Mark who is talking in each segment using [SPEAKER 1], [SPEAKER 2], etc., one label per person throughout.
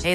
[SPEAKER 1] Hey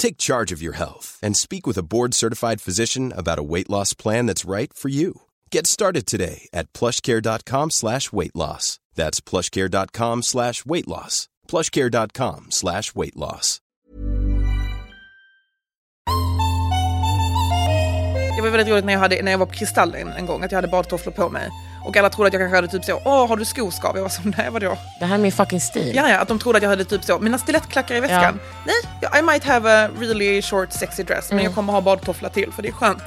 [SPEAKER 2] Take charge of your health and speak with a board certified physician about a weight loss plan that's right for you. Get started today at plushcare.com slash weight loss. That's plushcare.com slash weight loss. Plushcare.com slash weight loss.
[SPEAKER 3] Det var väldigt roligt när jag, hade, när jag var på Kristallen en gång, att jag hade badtofflor på mig. Och alla trodde att jag kanske hade typ så, åh har du skoskav? Jag var så, nej vadå?
[SPEAKER 4] Det här är min fucking stil.
[SPEAKER 3] Ja, ja, att de trodde att jag hade typ så, mina stilettklackar i väskan. Nej, I might have a really short sexy dress,
[SPEAKER 4] Mm.
[SPEAKER 3] men jag kommer ha badtoffla till för det är skönt.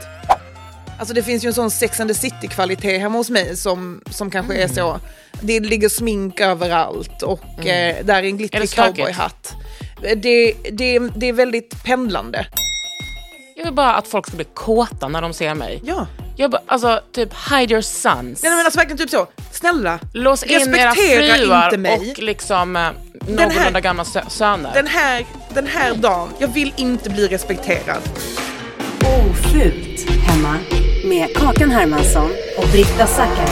[SPEAKER 3] Alltså det finns ju en sån Sex and the City-kvalitet hemma hos mig som, som kanske är så,
[SPEAKER 4] Mm.
[SPEAKER 3] det ligger smink överallt och eh, där är en
[SPEAKER 4] Är det
[SPEAKER 3] glittrig
[SPEAKER 4] stökigt?
[SPEAKER 3] cowboyhatt. Eh, Det, det, det är väldigt pendlande.
[SPEAKER 4] Jag vill bara att folk ska bli kåta när de ser mig.
[SPEAKER 3] Ja.
[SPEAKER 4] Jag bara, alltså typ hide your sons.
[SPEAKER 3] Nej men alltså verkligen typ så, snälla,
[SPEAKER 4] Lås in era
[SPEAKER 3] respektera
[SPEAKER 4] fruar
[SPEAKER 3] inte mig.
[SPEAKER 4] och liksom eh, någorlunda gamla sö- söner.
[SPEAKER 3] Den här, den här dagen, jag vill inte bli respekterad.
[SPEAKER 5] Ofult hemma med Kakan Hermansson och Britta Zackari.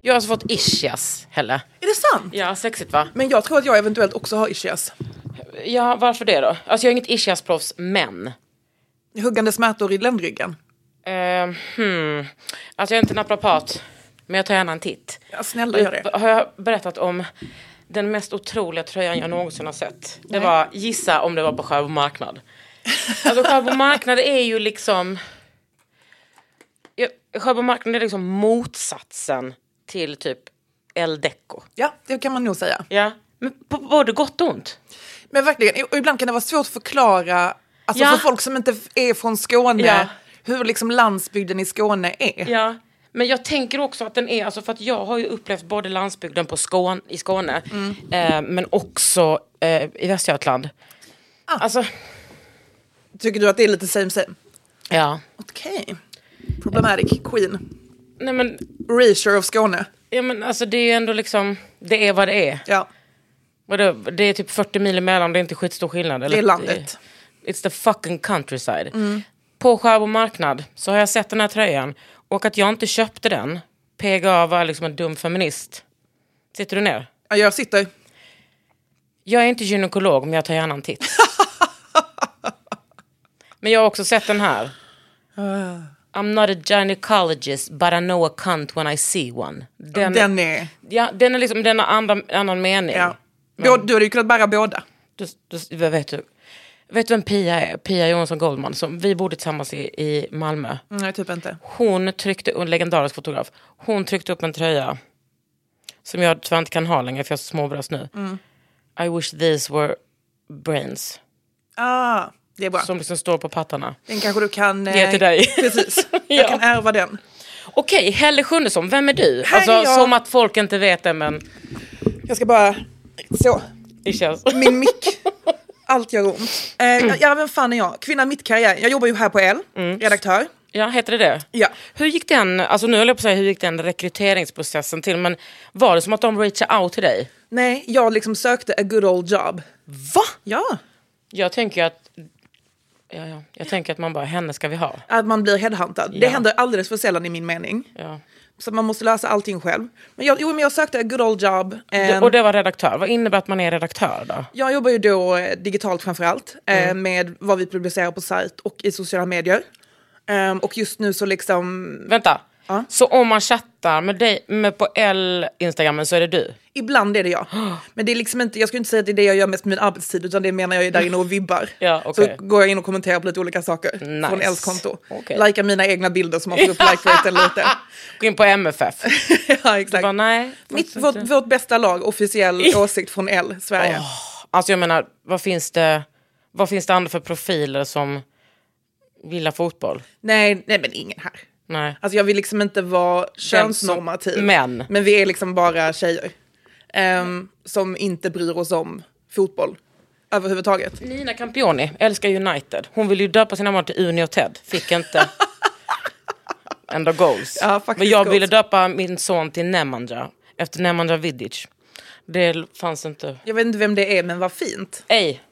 [SPEAKER 4] Jag har alltså fått ischias, Helle.
[SPEAKER 3] Är det sant?
[SPEAKER 4] Ja, sexigt va?
[SPEAKER 3] Men jag tror att jag eventuellt också har ischias.
[SPEAKER 4] Ja, varför det då? Alltså jag är inget ischiasproffs, men.
[SPEAKER 3] Huggande smärtor i ländryggen.
[SPEAKER 4] Eh, hmm. Alltså jag är inte naprapat, men jag tar gärna en titt. Eh,
[SPEAKER 3] Ja, snälla gör det.
[SPEAKER 4] Har jag berättat om den mest otroliga tröjan jag någonsin har sett? Det var, gissa om det var på Sjöbo marknad. Alltså Sjöbo marknad är ju liksom... Ja, Sjöbo marknad är liksom motsatsen till typ El Deco.
[SPEAKER 3] Ja, det kan man nog säga.
[SPEAKER 4] Ja, men på både gott och ont.
[SPEAKER 3] Men verkligen, och ibland kan det vara svårt att förklara, alltså
[SPEAKER 4] Ja.
[SPEAKER 3] för folk som inte är från Skåne,
[SPEAKER 4] Ja.
[SPEAKER 3] hur liksom landsbygden i Skåne är.
[SPEAKER 4] Ja. Men jag tänker också att den är, alltså för att jag har ju upplevt både landsbygden på Skåne, i Skåne,
[SPEAKER 3] Mm.
[SPEAKER 4] eh, men också eh, i Västergötland.
[SPEAKER 3] Ah.
[SPEAKER 4] Alltså,
[SPEAKER 3] Tycker du att det är lite same same?
[SPEAKER 4] ja.
[SPEAKER 3] Okej. Problematic queen.
[SPEAKER 4] Nej men,
[SPEAKER 3] Erasure of Skåne.
[SPEAKER 4] ja, men alltså det är ju ändå liksom, det är vad det är.
[SPEAKER 3] Ja,
[SPEAKER 4] Vadå, det är typ 40 mil emellan, det är inte skitstor skillnad. Eller?
[SPEAKER 3] det är landet. Mm.
[SPEAKER 4] It's the fucking countryside. På Sjöbo marknad så har jag sett den här tröjan och att jag inte köpte den, PGA var liksom en dum feminist. Sitter du ner?
[SPEAKER 3] Ja, jag sitter.
[SPEAKER 4] Jag är inte gynekolog, men jag tar gärna en titt. men jag har också sett den här.
[SPEAKER 3] Ah.
[SPEAKER 4] I'm not a gynecologist, but I know a cunt when I see one. Den,
[SPEAKER 3] Den är...
[SPEAKER 4] ja, den är liksom, den har annan, annan mening.
[SPEAKER 3] Ja. Bå- Du hade ju kunnat bära båda.
[SPEAKER 4] Du, du, vad vet du? Vet du vem Pia är? Pia Johansson Goldman, som vi bodde tillsammans i, i Malmö.
[SPEAKER 3] Nej, typ inte.
[SPEAKER 4] Hon tryckte, en legendarisk fotograf, hon tryckte upp en tröja som jag tyvärr inte kan ha längre för jag har så små bröst nu.
[SPEAKER 3] Mm.
[SPEAKER 4] I wish these were brains.
[SPEAKER 3] Ah, det är bra.
[SPEAKER 4] som liksom står på pattarna.
[SPEAKER 3] Den kanske du kan... eh,
[SPEAKER 4] Ge till dig.
[SPEAKER 3] Precis.
[SPEAKER 4] Ja.
[SPEAKER 3] Jag kan ärva den.
[SPEAKER 4] Okej, Helle Sjunnesson, vem är du?
[SPEAKER 3] Här är
[SPEAKER 4] alltså
[SPEAKER 3] jag.
[SPEAKER 4] som att folk inte vet det men
[SPEAKER 3] Jag ska bara... Så.
[SPEAKER 4] det känns...
[SPEAKER 3] Min mick. Allt gör ont. Eh, ja, vem fan är jag? Kvinna mitt karriär. Jag jobbar ju här på L,
[SPEAKER 4] Mm.
[SPEAKER 3] redaktör.
[SPEAKER 4] Ja, heter det det?
[SPEAKER 3] Ja.
[SPEAKER 4] Hur gick den, alltså nu höll jag på att säga hur gick den rekryteringsprocessen till men var det som att de reachade out till dig?
[SPEAKER 3] Nej, jag liksom sökte a good old job.
[SPEAKER 4] Va?
[SPEAKER 3] Ja.
[SPEAKER 4] Jag tänker ju att ja, ja. Jag tänker att man bara, henne ska vi ha.
[SPEAKER 3] Att man blir headhuntad. Det
[SPEAKER 4] Ja.
[SPEAKER 3] händer alldeles för sällan i min mening.
[SPEAKER 4] Ja.
[SPEAKER 3] Så man måste lösa allting själv. Men jag, jo, men jag sökte a good old job.
[SPEAKER 4] Det-
[SPEAKER 3] And
[SPEAKER 4] Och det var redaktör. Vad innebär att man är redaktör då?
[SPEAKER 3] Jag jobbar ju då eh, digitalt framför allt eh,
[SPEAKER 4] Mm.
[SPEAKER 3] med vad vi publicerar på sajt och i sociala medier. Ehm, och just nu så liksom,
[SPEAKER 4] Vänta. Så om man chattar med dig med på L Instagrammen så är det du?
[SPEAKER 3] ibland är det jag. Men det är liksom inte, jag skulle inte säga att det är det jag gör mest på min arbetstid utan det menar jag är där inne och vibbar.
[SPEAKER 4] Ja, okej.
[SPEAKER 3] Så går jag in och kommenterar på lite olika saker
[SPEAKER 4] Nice.
[SPEAKER 3] från Els konto.
[SPEAKER 4] Okej.
[SPEAKER 3] Likar mina egna bilder som har fått upp like-raten lite.
[SPEAKER 4] Gå in på MFF.
[SPEAKER 3] ja,
[SPEAKER 4] Du
[SPEAKER 3] exakt.
[SPEAKER 4] bara, nej.
[SPEAKER 3] Mitt, vårt, vårt bästa lag, officiell åsikt från L, Sverige.
[SPEAKER 4] Alltså jag menar, vad finns det, vad finns det andra för profiler som gillar fotboll?
[SPEAKER 3] Nej, nej, men ingen här.
[SPEAKER 4] Nej.
[SPEAKER 3] Alltså jag vill liksom inte vara könsnormativ.
[SPEAKER 4] som- men.
[SPEAKER 3] Men vi är liksom bara tjejer. ehm, som inte bryr oss om fotboll överhuvudtaget.
[SPEAKER 4] Nina Campioni älskar United. Hon ville ju döpa sina barn till Uni och Ted. Fick inte. Ändå goals.
[SPEAKER 3] Ja, faktiskt
[SPEAKER 4] Men jag
[SPEAKER 3] goals.
[SPEAKER 4] ville döpa min son till Nemanja. Efter Nemanja Vidic. Det fanns inte.
[SPEAKER 3] Jag vet inte vem det är, men vad fint.
[SPEAKER 4] Ej.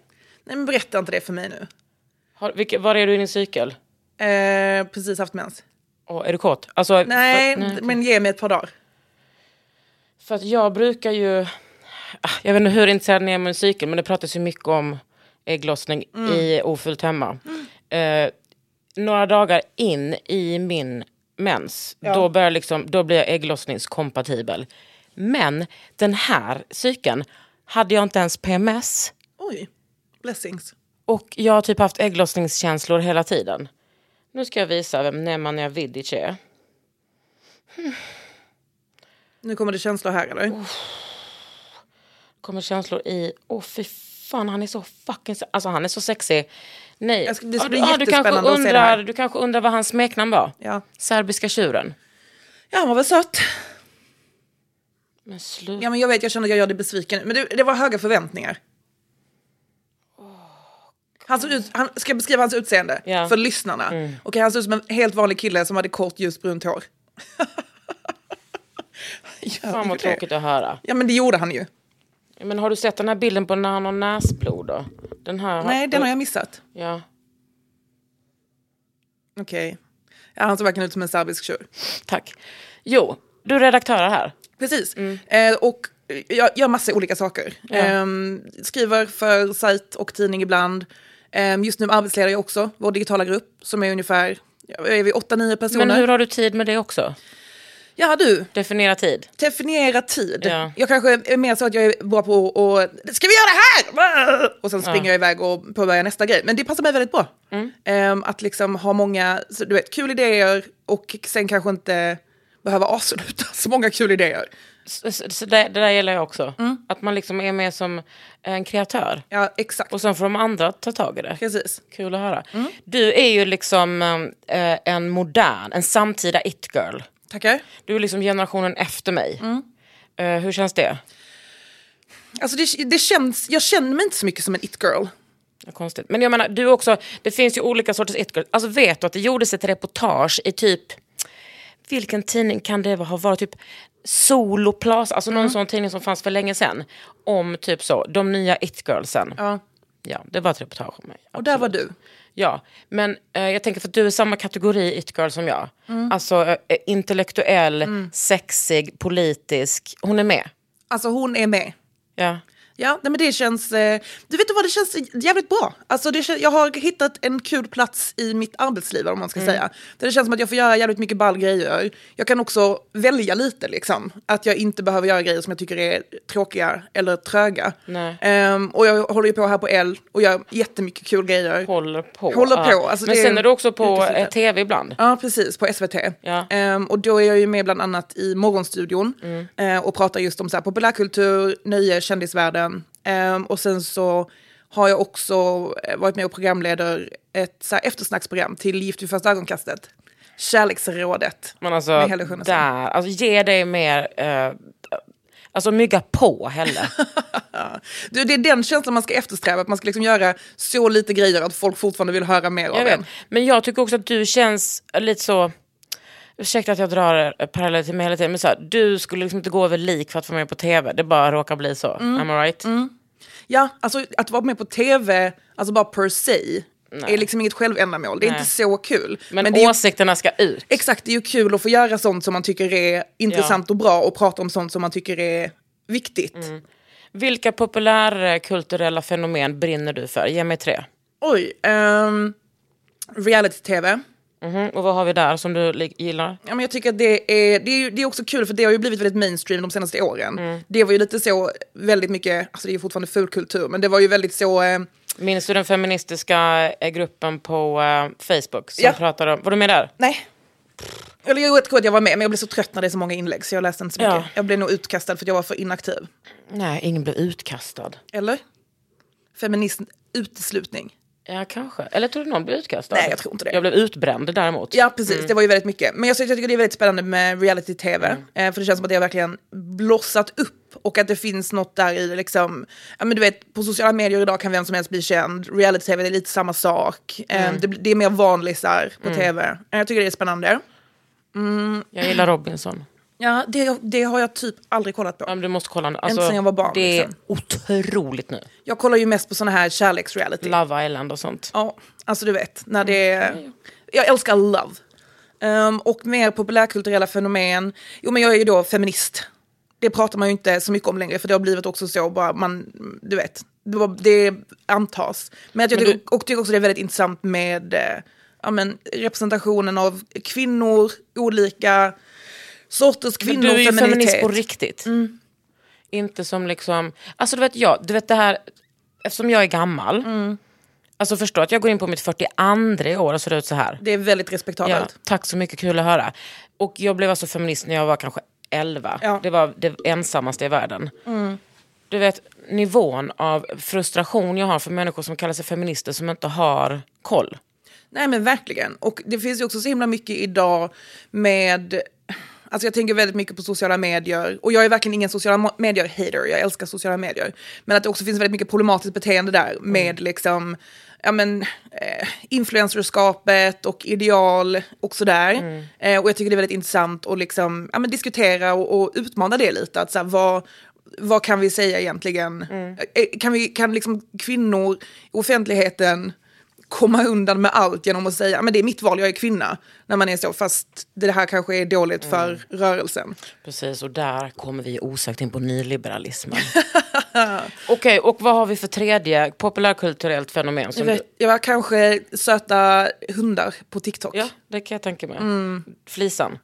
[SPEAKER 3] Nej, men berätta inte det för mig nu.
[SPEAKER 4] Har, vilka, var är du i din cykel?
[SPEAKER 3] Eh, precis haft mens.
[SPEAKER 4] Åh, är du kåt? Alltså,
[SPEAKER 3] Nej,
[SPEAKER 4] För, nej.
[SPEAKER 3] men ge mig ett par dagar.
[SPEAKER 4] för att jag brukar ju... Ah, Jag vet inte hur intresserad ni är av musiken, men det pratas ju mycket om ägglossning i Ofullt hemma. Eh, några dagar in i min mens, då, börjar liksom, då blir jag ägglossningskompatibel. Men den här cykeln hade jag inte ens PMS.
[SPEAKER 3] Oj, blessings.
[SPEAKER 4] Och jag har typ haft ägglossningskänslor hela tiden. Nu ska jag visa vem Nemanja Vidic är.
[SPEAKER 3] Nu kommer det känslor här eller?
[SPEAKER 4] kommer känslor i... Åh, fy fan, han är så fucking... se- Alltså, han är så sexig. Nej.
[SPEAKER 3] Jag ska- det ska
[SPEAKER 4] Ja,
[SPEAKER 3] bli
[SPEAKER 4] du- ja, du, kanske
[SPEAKER 3] jättespännande att se det här.
[SPEAKER 4] undrar, du kanske undrar vad hans smeknamn var?
[SPEAKER 3] Ja.
[SPEAKER 4] Serbiska tjuren.
[SPEAKER 3] ja, han var väl söt.
[SPEAKER 4] Men sluta.
[SPEAKER 3] Ja, men jag vet, jag känner att jag gör dig besviken. Men du, det var höga förväntningar. Han såg ut, han, ska jag beskriva hans utseende
[SPEAKER 4] Ja.
[SPEAKER 3] för lyssnarna? Mm. han såg ut som en helt vanlig kille som hade kort ljusbrunt hår. Gör
[SPEAKER 4] Fan
[SPEAKER 3] ju
[SPEAKER 4] vad
[SPEAKER 3] det.
[SPEAKER 4] tråkigt att höra.
[SPEAKER 3] Ja men det gjorde han ju.
[SPEAKER 4] Men har du sett den här bilden på när han har näsblod då? Den här...
[SPEAKER 3] Nej den har jag missat.
[SPEAKER 4] Ja.
[SPEAKER 3] Okej. Ja, han såg verkligen ut som en serbisk tjur.
[SPEAKER 4] Tack. Jo, du är redaktör här.
[SPEAKER 3] Precis. Eh, och jag gör massa olika saker.
[SPEAKER 4] Mm. Ja.
[SPEAKER 3] Ehm, skriver för sajt och tidning ibland. Ehm, just nu arbetsleder jag också vår digitala grupp som är ungefär ja, är vi 8-9 personer.
[SPEAKER 4] Men hur har du tid med det också?
[SPEAKER 3] Ja du,
[SPEAKER 4] Definiera tid.
[SPEAKER 3] definiera tid.
[SPEAKER 4] Ja.
[SPEAKER 3] Jag kanske är mer så att jag är bra på att ska vi göra det här? Och sen springer jag iväg och påbörjar nästa grej. Men det passar mig väldigt bra.
[SPEAKER 4] Mm.
[SPEAKER 3] Ehm, att liksom ha många, så du vet, kul idéer och sen kanske inte behöva avsluta så många kul idéer.
[SPEAKER 4] Så, så, så det, det där gäller jag också.
[SPEAKER 3] Mm.
[SPEAKER 4] Att man liksom är med som en kreatör.
[SPEAKER 3] Ja, exakt.
[SPEAKER 4] Och sen får de andra ta tag i det.
[SPEAKER 3] Precis.
[SPEAKER 4] Kul att höra. Du är ju liksom eh, en modern, en samtida it-girl.
[SPEAKER 3] Tackar.
[SPEAKER 4] Du är liksom generationen efter mig. Eh, hur känns det?
[SPEAKER 3] Alltså det, det känns, jag känner mig inte så mycket som en it-girl.
[SPEAKER 4] Vad Konstigt. Men jag menar, du också, det finns ju olika sorters it-girls. Alltså vet du att det gjordes ett reportage i typ, vilken tidning kan det ha varit? Typ Soloplaza, alltså någon sån tidning som fanns för länge sedan. Om typ så, de nya it-girlsen.
[SPEAKER 3] Ja.
[SPEAKER 4] Ja, det var ett reportage om mig.
[SPEAKER 3] Och där var du.
[SPEAKER 4] Ja, men eh, jag tänker för att du är samma kategori it-girl som jag.
[SPEAKER 3] Mm.
[SPEAKER 4] Alltså eh, intellektuell, sexig, politisk. Hon är med.
[SPEAKER 3] Alltså hon är med.
[SPEAKER 4] Ja.
[SPEAKER 3] Ja, nej, men det känns... Eh, du vet vad, det känns jävligt bra. Alltså det, kän- jag har hittat en kul plats i mitt arbetsliv, om man ska
[SPEAKER 4] Mm.
[SPEAKER 3] säga. Där det känns som att jag får göra jävligt mycket ball grejer. Jag kan också välja lite, liksom. Att jag inte behöver göra grejer som jag tycker är tråkiga eller tröga.
[SPEAKER 4] Nej.
[SPEAKER 3] Ehm, och jag håller ju på här på L och gör jättemycket kul grejer.
[SPEAKER 4] Håller på.
[SPEAKER 3] Håller
[SPEAKER 4] Ja.
[SPEAKER 3] på, alltså
[SPEAKER 4] men
[SPEAKER 3] det är
[SPEAKER 4] sen är du också på
[SPEAKER 3] yrkeslivet.
[SPEAKER 4] eh, tv ibland.
[SPEAKER 3] Ja, precis. På SVT.
[SPEAKER 4] Ja.
[SPEAKER 3] Ehm, och då är jag ju med bland annat i Morgonstudion
[SPEAKER 4] Mm.
[SPEAKER 3] eh, och pratar just om så här, populärkultur, nöje, kändisvärlden. Ehm, och sen så har jag också eh, varit med och programleder ett så här, eftersnacksprogram till Gift vid första ögonkastet. Kärleksrådet.
[SPEAKER 4] Men alltså,
[SPEAKER 3] med Helle Sjunnesson.
[SPEAKER 4] där, alltså ge dig mer, eh, alltså mygga på Helle.
[SPEAKER 3] Du, det är den känslan man ska eftersträva, att man ska liksom göra så lite grejer att folk fortfarande vill höra mer
[SPEAKER 4] jag
[SPEAKER 3] av
[SPEAKER 4] vet.
[SPEAKER 3] en.
[SPEAKER 4] Men jag tycker också att du känns eh, lite så, ursäkta att jag drar eh, paralleller till mig hela tiden, men så här, du skulle liksom inte gå över lik för att vara med på tv. Det bara råkar bli
[SPEAKER 3] Mm.
[SPEAKER 4] så. Am I right?
[SPEAKER 3] Ja, alltså att vara med på tv, alltså bara per se, är liksom inget självändamål. Det är
[SPEAKER 4] Nej.
[SPEAKER 3] inte så kul.
[SPEAKER 4] Men,
[SPEAKER 3] det är ju,
[SPEAKER 4] åsikterna ska ut.
[SPEAKER 3] exakt, det är ju kul att få göra sånt som man tycker är intressant och bra och prata om sånt som man tycker är viktigt.
[SPEAKER 4] Mm. Vilka populärkulturella fenomen brinner du för? Ge mig tre.
[SPEAKER 3] Oj, ehm, reality-tv.
[SPEAKER 4] Mhm, Och vad har vi där som du li- gillar?
[SPEAKER 3] Ja, men jag tycker att det är, det, är ju, det är också kul för det har ju blivit väldigt mainstream de senaste åren.
[SPEAKER 4] Mm.
[SPEAKER 3] Det var ju lite så väldigt mycket, alltså det är ju fortfarande fulkultur, men det var ju väldigt så, eh,
[SPEAKER 4] Minns du den feministiska eh, gruppen på eh, Facebook som
[SPEAKER 3] Ja.
[SPEAKER 4] pratade om... Var du med där?
[SPEAKER 3] nej. Eller jag tror att jag var med, men jag blev så trött när det är så många inlägg så jag läste inte så mycket.
[SPEAKER 4] Ja.
[SPEAKER 3] Jag blev nog utkastad för att jag var för inaktiv.
[SPEAKER 4] Nej, ingen blev utkastad.
[SPEAKER 3] Eller? Feminism, uteslutning.
[SPEAKER 4] Ja, kanske. Eller tror du någon blev utkastad?
[SPEAKER 3] Nej, jag tror inte det.
[SPEAKER 4] Jag blev utbränd däremot.
[SPEAKER 3] Ja, precis. Mm. Det var ju väldigt mycket. Men jag, jag tycker det är väldigt spännande med reality-tv. Eh, För det känns som att det har verkligen blossat upp. Och att det finns något där i liksom, ja men du vet, på sociala medier idag kan vem som helst bli känd. Reality-tv det är lite samma sak. Eh, Det, det är mer vanlisar på tv. Eh, Jag tycker det är spännande.
[SPEAKER 4] Jag gillar Robinson.
[SPEAKER 3] Ja, det, det har jag typ aldrig kollat på.
[SPEAKER 4] Ja, men du måste kolla. Alltså,
[SPEAKER 3] sen jag var barn,
[SPEAKER 4] Det är
[SPEAKER 3] liksom.
[SPEAKER 4] otroligt nu.
[SPEAKER 3] Jag kollar ju mest på såna här kärleksreality.
[SPEAKER 4] Love Island och sånt.
[SPEAKER 3] Ja, alltså du vet, när det
[SPEAKER 4] Mm.
[SPEAKER 3] är... Jag älskar love. Ehm, och mer populärkulturella fenomen. Jo, men jag är ju då feminist. Det pratar man ju inte så mycket om längre, för det har blivit också så, bara man, du vet, det, var, det antas. Men att jag
[SPEAKER 4] Men
[SPEAKER 3] tycker, och tycker också det är väldigt intressant med eh, ja, men, representationen av kvinnor, olika sorters
[SPEAKER 4] Men
[SPEAKER 3] kvinnor,
[SPEAKER 4] du är ju feminist
[SPEAKER 3] feminitet.
[SPEAKER 4] på riktigt. Inte som liksom... Alltså du vet, jag, du vet det här... Eftersom jag är gammal. Alltså förstå att jag går in på mitt 42 år och ser ut så här.
[SPEAKER 3] det är väldigt
[SPEAKER 4] Ja,
[SPEAKER 3] respektabelt.
[SPEAKER 4] tack så mycket, kul att höra. Och jag blev alltså feminist när jag var kanske 11.
[SPEAKER 3] Ja.
[SPEAKER 4] Det var det ensammaste i världen. Du vet nivån av frustration jag har för människor som kallar sig feminister som inte har koll.
[SPEAKER 3] Nej men verkligen. Och det finns ju också så himla mycket idag med... Alltså jag tänker väldigt mycket på sociala medier. Och jag är verkligen ingen sociala medier-hater, jag älskar sociala medier. Men att det också finns väldigt mycket problematiskt beteende där med liksom... Ja men, eh, influencerskapet och ideal och sådär. Eh, och jag tycker det är väldigt intressant att liksom, ja, men diskutera och, och utmana det lite. Att så här, vad, vad kan vi säga egentligen? Eh, Kan, vi, kan liksom kvinnor i offentligheten komma undan med allt genom att säga "Ah, men det är mitt val, jag är kvinna. När man är så, fast det här kanske är dåligt för rörelsen.
[SPEAKER 4] Precis, och där kommer vi osökt in på nyliberalismen. Okej, och vad har vi för tredje populärkulturellt fenomen?
[SPEAKER 3] Jag,
[SPEAKER 4] Som
[SPEAKER 3] vet, jag var kanske söta hundar på TikTok.
[SPEAKER 4] du, ja, det kan jag tänka mig.
[SPEAKER 3] Mm.
[SPEAKER 4] Flisan.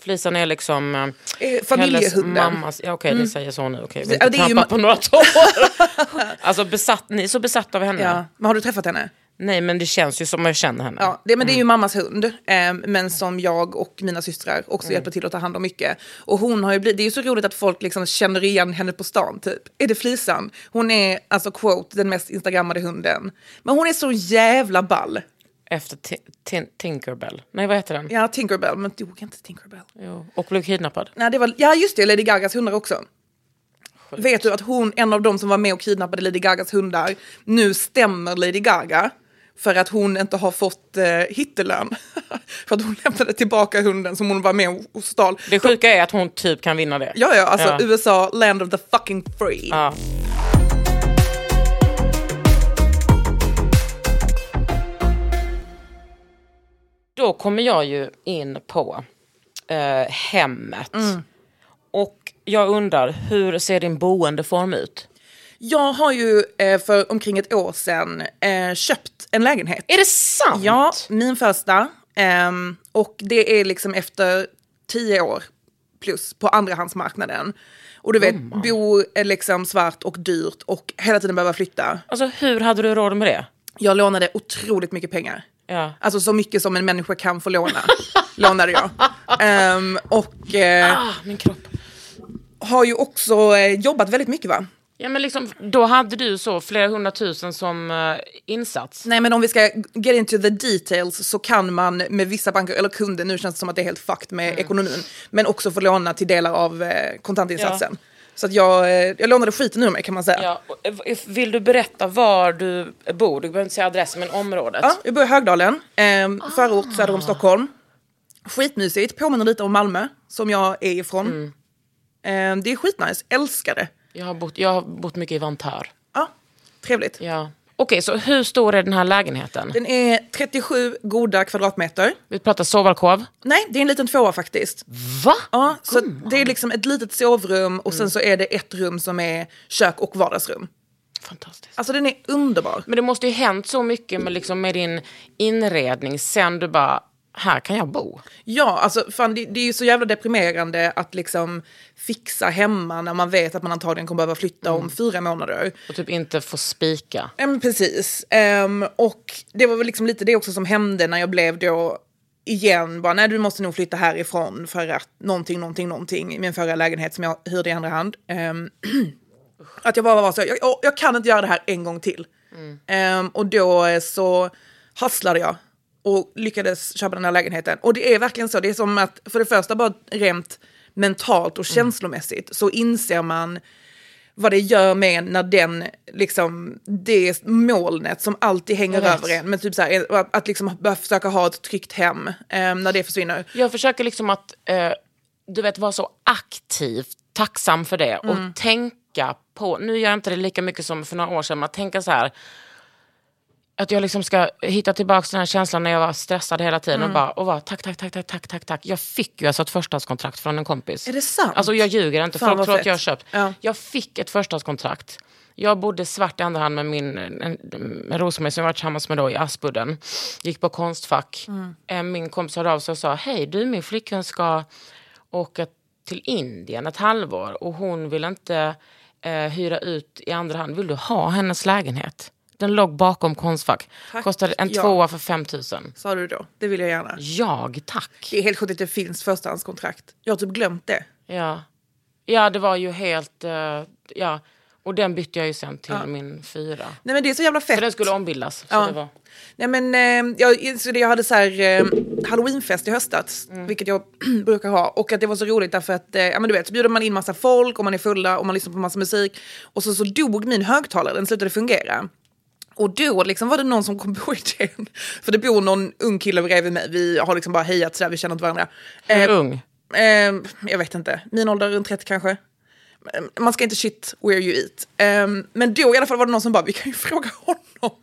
[SPEAKER 4] Flisan är liksom... eh,
[SPEAKER 3] Eh,
[SPEAKER 4] Helles
[SPEAKER 3] Familjehunden.
[SPEAKER 4] mammas, ja, okej det säger så nu, okej vi
[SPEAKER 3] Ja,
[SPEAKER 4] har inte
[SPEAKER 3] det är ju
[SPEAKER 4] trampat
[SPEAKER 3] ma-
[SPEAKER 4] på några tår. alltså besatt, ni är så besatta av henne.
[SPEAKER 3] Ja. Men har du träffat henne?
[SPEAKER 4] Nej men det känns ju som att jag känner henne.
[SPEAKER 3] Ja, det, men det är ju mammas hund, eh, men som jag och mina systrar också hjälper till att ta hand om mycket. Och hon har ju blivit, det är ju så roligt att folk liksom känner igen henne på stan typ. Är det Flisan? Hon är alltså quote den mest instagrammade hunden. Men hon är så jävla ball.
[SPEAKER 4] Efter ti- tin- Tinkerbell, nej vad heter den?
[SPEAKER 3] Ja, Tinkerbell, men dog inte Tinkerbell?
[SPEAKER 4] Jo. Och blev kidnappad.
[SPEAKER 3] Nej, det var, ja, just det, Lady Gagas hundar också. Vet du att hon, en av dem som var med och kidnappade Lady Gagas hundar, nu stämmer Lady Gaga för att hon inte har fått eh, hittelön. för att hon lämnade tillbaka hunden som hon var med och, och stal.
[SPEAKER 4] Det sjuka är att hon typ kan vinna det.
[SPEAKER 3] Ja, ja, alltså
[SPEAKER 4] Ja.
[SPEAKER 3] USA, land of the fucking free.
[SPEAKER 4] Ja. Då kommer jag ju in på eh, hemmet. Och jag undrar, hur ser din boendeform ut?
[SPEAKER 3] Jag har ju eh, för omkring ett år sedan eh, köpt en lägenhet.
[SPEAKER 4] Är det sant?
[SPEAKER 3] Ja, min första. Ehm, och det är liksom efter tio år plus på andrahandsmarknaden. Och du vet, bo är liksom svart och dyrt och hela tiden behöva flytta.
[SPEAKER 4] Alltså hur hade du råd med det?
[SPEAKER 3] Jag lånade otroligt mycket pengar.
[SPEAKER 4] Ja.
[SPEAKER 3] Alltså så mycket som en människa kan få låna, lånade jag. Ehm, och eh,
[SPEAKER 4] Ah, min kropp.
[SPEAKER 3] har ju också eh, jobbat väldigt mycket va?
[SPEAKER 4] Ja, men liksom, då hade du så flera hundratusen som eh, insats.
[SPEAKER 3] Nej men om vi ska get into the details så kan man med vissa banker, eller kunder, nu känns det som att det är helt fucked med ekonomin, men också få låna till delar av eh, kontantinsatsen. Så att jag, eh, jag lånade skiten ur mig kan man säga. Ja.
[SPEAKER 4] Ja, och, eh, vill du berätta var du bor? Du behöver inte säga adress, men området.
[SPEAKER 3] jag bor i Högdalen, eh, förort söder om Stockholm. Skitmysigt, påminner lite om Malmö som jag är ifrån. Eh, det är skitnice, älskar det.
[SPEAKER 4] Jag, har bott, jag har bott mycket i Vantar.
[SPEAKER 3] Ja, trevligt.
[SPEAKER 4] Ja. Okej, Okej, så hur stor är den här lägenheten?
[SPEAKER 3] Den är 37 goda kvadratmeter.
[SPEAKER 4] Vi pratar sovalkov.
[SPEAKER 3] Nej, det är en liten tvåa faktiskt.
[SPEAKER 4] Va?
[SPEAKER 3] Ja, så det är liksom ett litet sovrum och sen så är det ett rum som är kök och vardagsrum.
[SPEAKER 4] Fantastiskt.
[SPEAKER 3] Alltså den är underbar.
[SPEAKER 4] Men det måste ju hänt så mycket med, liksom, med din inredning sen du bara, här kan jag bo.
[SPEAKER 3] Ja, alltså fan, det, det är ju så jävla deprimerande att liksom fixa hemma när man vet att man antagligen kommer behöva flytta om fyra månader.
[SPEAKER 4] Och typ inte få spika.
[SPEAKER 3] Ja, men precis. Ehm, och det var väl liksom lite det också som hände när jag blev då igen bara nej du måste nog flytta härifrån för att någonting, någonting, någonting i min förra lägenhet som jag hyrde i andra hand. Ehm, att jag bara var så, jag, jag, jag kan inte göra det här en gång till. Ehm, och då eh, så hasslade jag och lyckades köpa den här lägenheten. Och det är verkligen så, det är som att för det första bara rent mentalt och känslomässigt så inser man vad det gör med en när den, liksom, det molnet som alltid hänger
[SPEAKER 4] Jag vet.
[SPEAKER 3] över en, men typ så här, att, att liksom börja försöka ha ett tryggt hem eh, när det försvinner.
[SPEAKER 4] Jag försöker liksom att, eh, du vet, vara så aktivt tacksam för det
[SPEAKER 3] Mm.
[SPEAKER 4] och tänka på, nu gör jag inte det lika mycket som för några år sedan, men att tänka så här, att jag liksom ska hitta tillbaka till den här känslan när jag var stressad hela tiden
[SPEAKER 3] Mm.
[SPEAKER 4] och bara, och bara tack, tack, tack, tack, tack, tack, tack. Jag fick ju alltså ett förstahandskontrakt från en kompis.
[SPEAKER 3] Är det sant?
[SPEAKER 4] Alltså jag ljuger inte,
[SPEAKER 3] Fan,
[SPEAKER 4] folk
[SPEAKER 3] vad
[SPEAKER 4] tror att
[SPEAKER 3] fett.
[SPEAKER 4] jag har köpt.
[SPEAKER 3] Ja.
[SPEAKER 4] Jag fick ett förstahandskontrakt. Jag bodde svart i andra hand med min en- med Rosemarie som jag var tillsammans med då i Aspudden. Gick på Konstfack.
[SPEAKER 3] Mm.
[SPEAKER 4] Eh, Min kompis hörde av sig och sa, hej du min flickvän ska åka till Indien ett halvår och hon vill inte eh, hyra ut i andra hand. Vill du ha hennes lägenhet? Den låg bakom Konstfack.
[SPEAKER 3] Tack,
[SPEAKER 4] Kostade en
[SPEAKER 3] ja.
[SPEAKER 4] tvåa för 5 000.
[SPEAKER 3] Sa du då? Det vill jag gärna.
[SPEAKER 4] Jag tack.
[SPEAKER 3] Det är helt sjukt att det finns förstahandskontrakt. Jag har typ glömt det.
[SPEAKER 4] Ja. ja, det var ju helt... eh, ja. Och den bytte jag ju sen till min fyra.
[SPEAKER 3] Nej men det är så jävla fett.
[SPEAKER 4] För den skulle ombildas. Så
[SPEAKER 3] Ja.
[SPEAKER 4] det var.
[SPEAKER 3] Nej, men, eh, jag insåg det, jag hade så här, eh, halloweenfest i höstas,
[SPEAKER 4] Mm.
[SPEAKER 3] vilket jag brukar ha. Och att det var så roligt därför att, eh, ja men du vet, så bjuder man in massa folk och man är fulla och man lyssnar på massa musik. Och så, så dog min högtalare, den slutade fungera. Och då liksom var det någon som kom på idén, för det bor någon ung kille bredvid mig, vi har liksom bara hejat sådär, vi känner inte varandra. Eh,
[SPEAKER 4] Ung.
[SPEAKER 3] Ehm, jag vet inte, min ålder runt 30 kanske. Ehm, Man ska inte shit where you eat. Ehm, men då i alla fall var det någon som bara, vi kan ju fråga honom.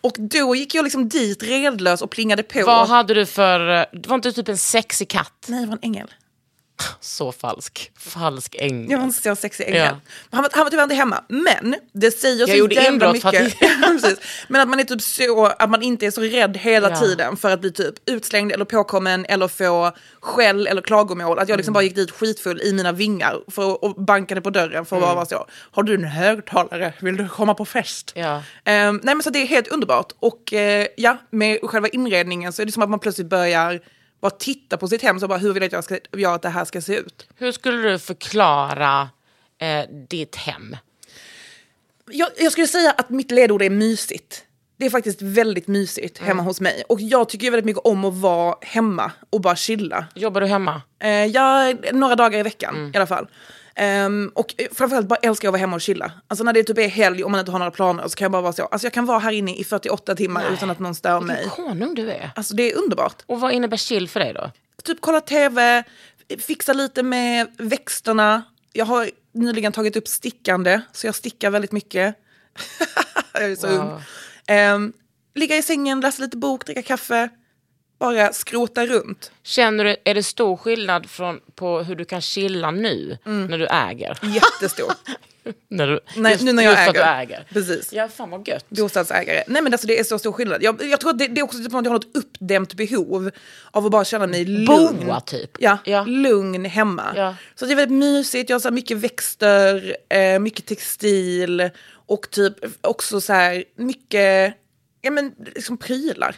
[SPEAKER 3] Och då gick jag liksom dit redlös och plingade på.
[SPEAKER 4] Vad hade du för... eh, Det var inte typ en sexig katt?
[SPEAKER 3] Nej, det var en ängel.
[SPEAKER 4] Så falsk. Falsk ängel.
[SPEAKER 3] Jag var en så sexig ängel.
[SPEAKER 4] Ja.
[SPEAKER 3] Han, var, han var tyvärr inte hemma, men det säger så
[SPEAKER 4] gjorde
[SPEAKER 3] jävla
[SPEAKER 4] inbrott för att-
[SPEAKER 3] mycket. Ja, precis. men att man är typ så, att man inte är så rädd hela
[SPEAKER 4] Ja.
[SPEAKER 3] tiden för att bli typ utslängd eller påkommen eller få skäll eller klagomål. Att jag
[SPEAKER 4] Mm.
[SPEAKER 3] liksom bara gick dit skitfull i mina vingar för, och bankade på dörren för att
[SPEAKER 4] Mm.
[SPEAKER 3] bara vara så. Har du en högtalare? Vill du komma på fest?
[SPEAKER 4] Ja.
[SPEAKER 3] Ehm, nej men så det är helt underbart. Och eh, ja, med själva inredningen så är det som att man plötsligt börjar bara titta på sitt hem. Så bara, hur vill jag att, jag ska, jag att det här ska se ut?
[SPEAKER 4] Hur skulle du förklara eh, ditt hem?
[SPEAKER 3] jag, jag skulle säga att mitt ledord är mysigt. Det är faktiskt väldigt mysigt hemma hos mig. Och jag tycker ju väldigt mycket om att vara hemma och bara chilla.
[SPEAKER 4] Jobbar du hemma?
[SPEAKER 3] Eh, jag, några dagar i veckan i alla fall. Ehm, och eh, framförallt bara älskar jag att vara hemma och chilla. Alltså när det typ är helg och man inte har några planer så kan jag bara vara så. Alltså jag kan vara här inne i 48 timmar utan att någon stör mig.
[SPEAKER 4] Vilken konung du är.
[SPEAKER 3] Alltså det är underbart.
[SPEAKER 4] Och vad innebär chill för dig då?
[SPEAKER 3] Typ kolla tv, fixa lite med växterna. Jag har nyligen tagit upp stickande, så jag stickar väldigt mycket. jag är så
[SPEAKER 4] Wow.
[SPEAKER 3] ung. Ehm, ligga i sängen, läsa lite bok, dricka kaffe. Bara skrota runt.
[SPEAKER 4] Känner du, är det stor skillnad från, på hur du kan chilla nu när du äger?
[SPEAKER 3] Jättestor.
[SPEAKER 4] När du,
[SPEAKER 3] Nej,
[SPEAKER 4] just-
[SPEAKER 3] nu när jag
[SPEAKER 4] just för
[SPEAKER 3] äger.
[SPEAKER 4] att du äger.
[SPEAKER 3] Precis.
[SPEAKER 4] Ja, fan vad gött.
[SPEAKER 3] Bostadsägare. Nej men alltså det är så stor skillnad. Jag, jag tror att det, det är också typ att jag har något uppdämt behov av att bara känna mig lugn.
[SPEAKER 4] Boa typ.
[SPEAKER 3] Ja,
[SPEAKER 4] Ja.
[SPEAKER 3] lugn hemma.
[SPEAKER 4] Ja.
[SPEAKER 3] Så det är väldigt mysigt, jag har så här mycket växter, eh, mycket textil och typ också så här mycket ja, men, liksom prylar.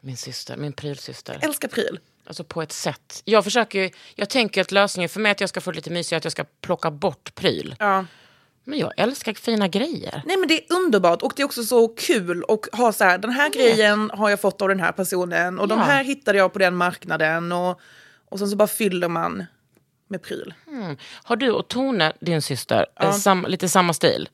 [SPEAKER 4] Min syster, min prylsyster.
[SPEAKER 3] Jag älskar pryl.
[SPEAKER 4] Alltså på ett sätt. Jag försöker ju, jag tänker att lösningen för mig att jag ska få det lite mysigt är att jag ska plocka bort pryl.
[SPEAKER 3] Ja.
[SPEAKER 4] Men jag älskar fina grejer.
[SPEAKER 3] Nej men det är underbart och det är också så kul att ha så här, den här grejen har jag fått av den här personen och de
[SPEAKER 4] Mm. Ja.
[SPEAKER 3] här hittade jag på den marknaden och, och sen så bara fyller man med pryl.
[SPEAKER 4] Har du och Tone, din syster, eh, sam, lite samma stil?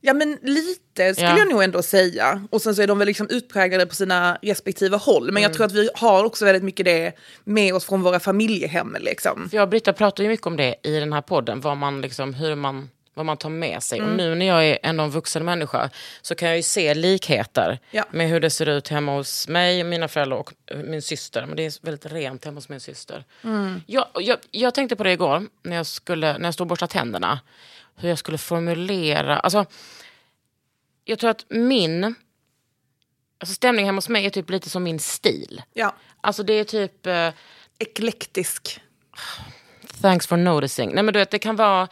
[SPEAKER 3] Ja men lite skulle
[SPEAKER 4] Ja.
[SPEAKER 3] jag nog ändå säga. Och sen så är de väl liksom utpräglade på sina respektive håll. Men jag tror att vi har också väldigt mycket det med oss från våra familjehem. Liksom.
[SPEAKER 4] För jag och Britta pratar ju mycket om det i den här podden, vad man liksom, hur man vad man tar med sig. Och nu när jag är ändå en vuxen människa så kan jag ju se likheter
[SPEAKER 3] Ja.
[SPEAKER 4] med hur det ser ut hemma hos mig, mina föräldrar och eh, min syster. Men det är väldigt rent hemma hos min syster. Jag, jag, jag tänkte på det igår när jag, skulle, när jag stod och borstade tänderna. Hur jag skulle formulera... Alltså, jag tror att min... Alltså stämningen hemma hos mig är typ lite som min stil.
[SPEAKER 3] Ja.
[SPEAKER 4] Alltså det är typ... Eh,
[SPEAKER 3] Eklektisk.
[SPEAKER 4] Thanks for noticing. Nej, men du vet, det kan vara...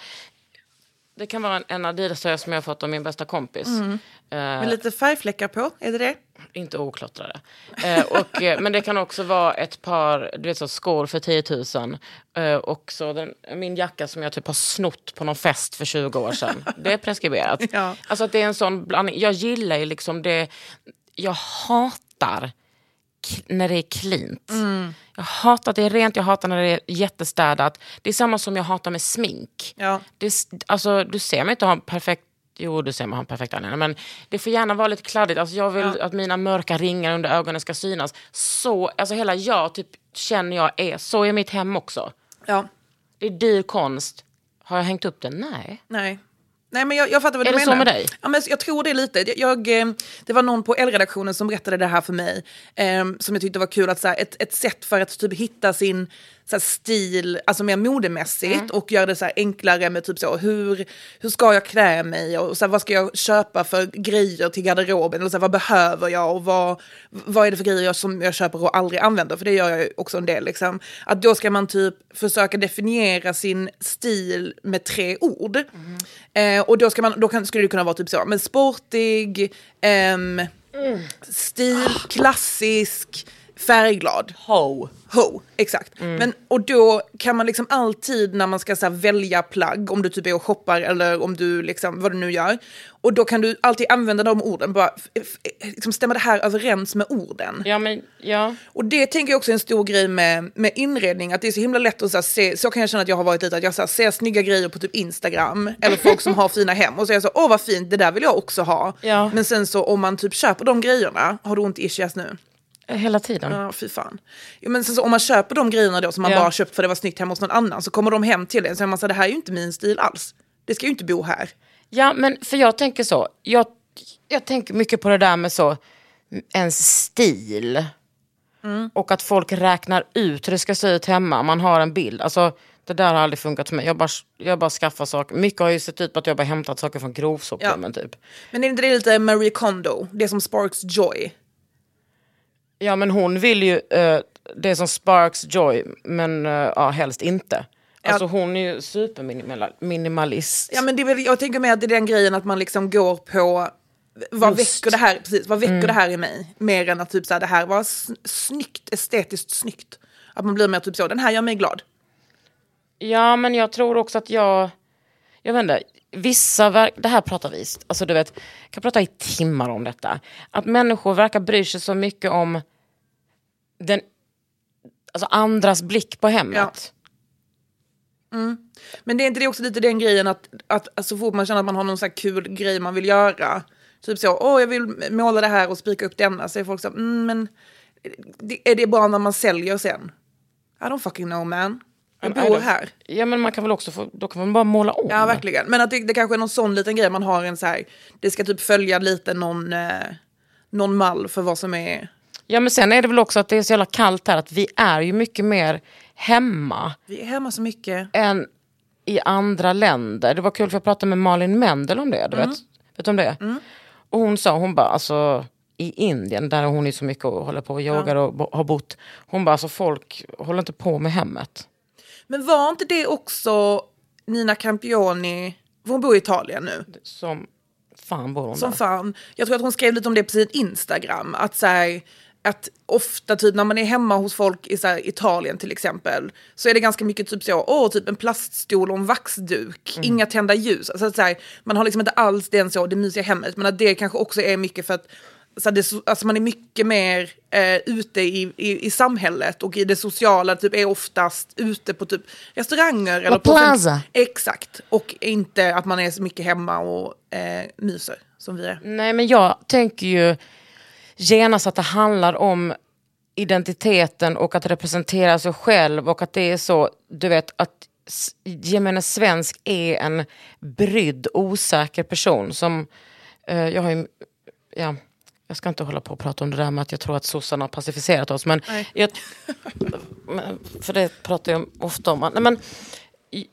[SPEAKER 4] Det kan vara en- en Adidas-tröja som jag har fått av min bästa kompis. Eh,
[SPEAKER 3] Med lite färgfläckar på, är det det?
[SPEAKER 4] inte oklottrade. Eh, och, eh, men det kan också vara ett par du vet, så, skor för 10 000. Eh, och så den, min jacka som jag typ har snott på någon fest för 20 år sedan. Det är preskriberat.
[SPEAKER 3] Ja.
[SPEAKER 4] Alltså att det är en sån blandning. Jag gillar ju liksom det. Jag hatar k- när det är cleant. Jag hatar att det är rent, jag hatar när det är jättestädat. Det är samma som jag hatar med smink.
[SPEAKER 3] Ja.
[SPEAKER 4] Det, är s- alltså, du ser mig inte ha en perfekt... Jo, du ser mig ha en perfekt anledning. Men det får gärna vara lite kladdigt. Alltså, jag vill att mina mörka ringar under ögonen ska synas. Så, alltså hela jag typ, känner jag är... Så är mitt hem också.
[SPEAKER 3] Ja.
[SPEAKER 4] Det är dyr konst. Har jag hängt upp den? Nej.
[SPEAKER 3] Nej. Nej, men jag, jag fattar vad
[SPEAKER 4] Är
[SPEAKER 3] du
[SPEAKER 4] det så
[SPEAKER 3] menar.
[SPEAKER 4] med dig?
[SPEAKER 3] Ja, men jag tror det lite. Jag, jag, eh, det var någon på L-redaktionen som berättade det här för mig. Eh, som jag tyckte var kul. Att, så här, ett, ett sätt för att typ, hitta sin så här, stil, alltså mer modemässigt.
[SPEAKER 4] Mm.
[SPEAKER 3] Och göra det så här, enklare med typ så, hur, hur ska jag klä mig? Och så här, vad ska jag köpa för grejer till garderoben? Eller, så här, vad behöver jag? Och vad, vad är det för grejer jag, som jag köper och aldrig använder? För det gör jag ju också en del. Liksom. Att då ska man typ försöka definiera sin stil med tre ord. Eh, och då, ska man, då kan, skulle det kunna vara typ så, men sportig, ehm, stil, klassisk, färgglad. Ho. Ho, exakt. Men, och då kan man liksom alltid när man ska så här, välja plagg, om du typ är och shoppar eller om du liksom, vad du nu gör. Och då kan du alltid använda de orden, bara, f- f- liksom, stämmer det här överens med orden?
[SPEAKER 4] Ja, men ja.
[SPEAKER 3] Och det tänker jag också är en stor grej med, med inredning, att det är så himla lätt att så här, se, så kan jag känna att jag har varit lite, att jag så här, ser snygga grejer på typ Instagram, eller folk som har fina hem, och så är jag så, åh vad fint, det där vill jag också ha.
[SPEAKER 4] Ja.
[SPEAKER 3] Men sen så om man typ köper de grejerna, har du ont i ischias nu?
[SPEAKER 4] Hela tiden.
[SPEAKER 3] Ja, fy fan. Jo, men sen så, om man köper de grejerna då som man
[SPEAKER 4] Ja.
[SPEAKER 3] bara har köpt för det var snyggt hemma hos någon annan, så kommer de hem till en, så är man så här, det här är ju inte min stil alls. Det ska ju inte bo här.
[SPEAKER 4] Ja, men för jag tänker så. Jag, jag tänker mycket på det där med så, ens stil. Och att folk räknar ut hur det ska se ut hemma. Man har en bild. Alltså, det där har aldrig funkat för mig. Jag bara, jag bara skaffar saker. Mycket har ju sett ut på att jag bara hämtat saker från grovsoprummen typ.
[SPEAKER 3] Men är inte det lite Marie Kondo, det som sparks joy?
[SPEAKER 4] Ja, men hon vill ju eh, det som sparks joy, men eh, ja, helst inte. Alltså hon är ju superminimalist.
[SPEAKER 3] Ja, men det är väl, jag tänker mer att det är den grejen att man liksom går på vad
[SPEAKER 4] Just.
[SPEAKER 3] väcker det här precis, vad väcker det här i mig? Mer än att typ så här, det här var sn- snyggt, estetiskt snyggt. Att man blir mer typ så, den här gör mig glad.
[SPEAKER 4] Ja, men jag tror också att jag... Jag vet inte. Vissa verk, det här pratar vi alltså du vet, jag kan prata i timmar om detta. Att människor verkar bry sig så mycket om den, alltså andras blick på hemmet.
[SPEAKER 3] Men det är inte det också lite den grejen att, att att så fort man känner att man har någon så här kul grej man vill göra. Typ så, åh jag vill måla det här och spika upp denna. Så är folk så, här, mm, men det, är det bara när man säljer sen? I don't fucking know man. Jag
[SPEAKER 4] I
[SPEAKER 3] bor
[SPEAKER 4] don't-
[SPEAKER 3] här.
[SPEAKER 4] Ja, men man kan väl också få, då kan man bara måla om.
[SPEAKER 3] Ja, verkligen. Men att det, det kanske är någon sån liten grej man har en så här, det ska typ följa lite någon, eh, någon mall för vad som är,
[SPEAKER 4] Ja, men sen är det väl också att det är så jävla kallt här att vi är ju mycket mer hemma.
[SPEAKER 3] vi är hemma så mycket.
[SPEAKER 4] än i andra länder. Det var kul för jag pratade med Malin Mendel om det. Du vet, vet du om det? Och hon sa, hon bara, alltså i Indien där hon är så mycket och håller på och yogar och bo- har bott. Hon bara, alltså folk håller inte på med hemmet.
[SPEAKER 3] Men var inte det också Nina Campioni, för hon bor i Italien nu,
[SPEAKER 4] Som fan bor hon
[SPEAKER 3] som
[SPEAKER 4] där.
[SPEAKER 3] fan. Jag tror att hon skrev lite om det på sin Instagram, att så här, att ofta typ när man är hemma hos folk i så här, Italien till exempel så är det ganska mycket typ så, åh typ en plaststol och en vaxduk, inga tända ljus. Alltså, att så här, man har liksom inte alls den så, det mysiga hemmet, men att det kanske också är mycket för att så här, det, so- alltså man är mycket mer eh, ute i, i, i samhället och i det sociala, typ är oftast ute på typ restauranger. Eller på
[SPEAKER 4] plaza.
[SPEAKER 3] Exakt, och inte att man är så mycket hemma och eh, myser som vi är.
[SPEAKER 4] Nej men jag tänker ju genast att det handlar om identiteten och att representera sig själv och att det är så, du vet att s- jag menar svensk är en brydd, osäker person som, eh, jag har ju, ja, jag ska inte hålla på och prata om det där med att jag tror att sossarna har pacificerat oss, men, jag, men för det pratar jag ofta om. Nej, men,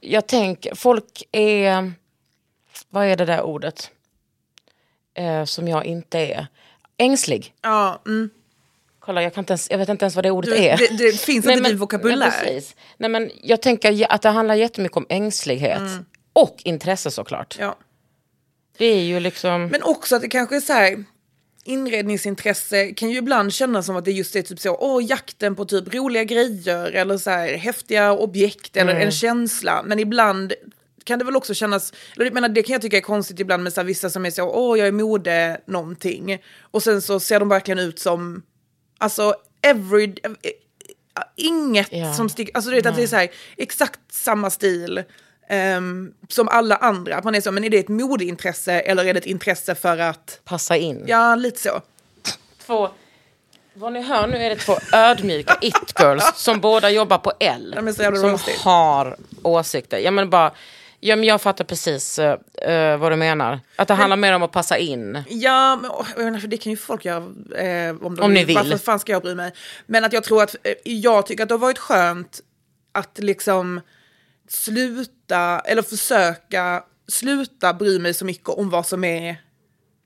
[SPEAKER 4] jag tänker, folk är, vad är det där ordet eh, som jag inte är? Ängslig.
[SPEAKER 3] Ja, mm.
[SPEAKER 4] Kolla, jag, kan inte ens, jag vet inte ens vad det ordet
[SPEAKER 3] Du,
[SPEAKER 4] är.
[SPEAKER 3] det, det finns inte i din
[SPEAKER 4] Nej,
[SPEAKER 3] vokabulär.
[SPEAKER 4] precis. Nej, men jag tänker ju att det handlar jättemycket om ängslighet. Och intresse såklart.
[SPEAKER 3] Mm. Ja.
[SPEAKER 4] Det är ju liksom...
[SPEAKER 3] Men också att det kanske är så här, inredningsintresse kan ju ibland kännas som att det just är typ så, åh jakten på typ roliga grejer eller så här häftiga objekt eller en känsla. Men ibland kan det väl också kännas, eller jag menar det kan jag tycka är konstigt ibland med så här, vissa som är så, åh jag är mode någonting. Och sen så ser de verkligen ut som, alltså every... Inget
[SPEAKER 4] Ja.
[SPEAKER 3] som sticker, alltså du vet att det är så här, exakt samma stil ehm, som alla andra. Att man är så, men är det ett modeintresse eller är det ett intresse för att
[SPEAKER 4] Passa in.
[SPEAKER 3] Ja, lite så.
[SPEAKER 4] Två, vad ni hör nu är det två ödmjuka it-girls som båda jobbar på L.
[SPEAKER 3] men så jävla
[SPEAKER 4] som
[SPEAKER 3] roastigt.
[SPEAKER 4] har åsikter. Jag, menar bara, ja, men jag fattar precis eh, eh, vad du menar. Att det handlar mer om att passa in.
[SPEAKER 3] Ja, men åh, jag menar, för det kan ju folk göra eh, om de
[SPEAKER 4] Om ni vill.
[SPEAKER 3] Varför fan ska jag bry mig? Men att jag tror att, eh, jag tycker att det har varit skönt att liksom sluta, eller försöka sluta bry mig så mycket om vad som är,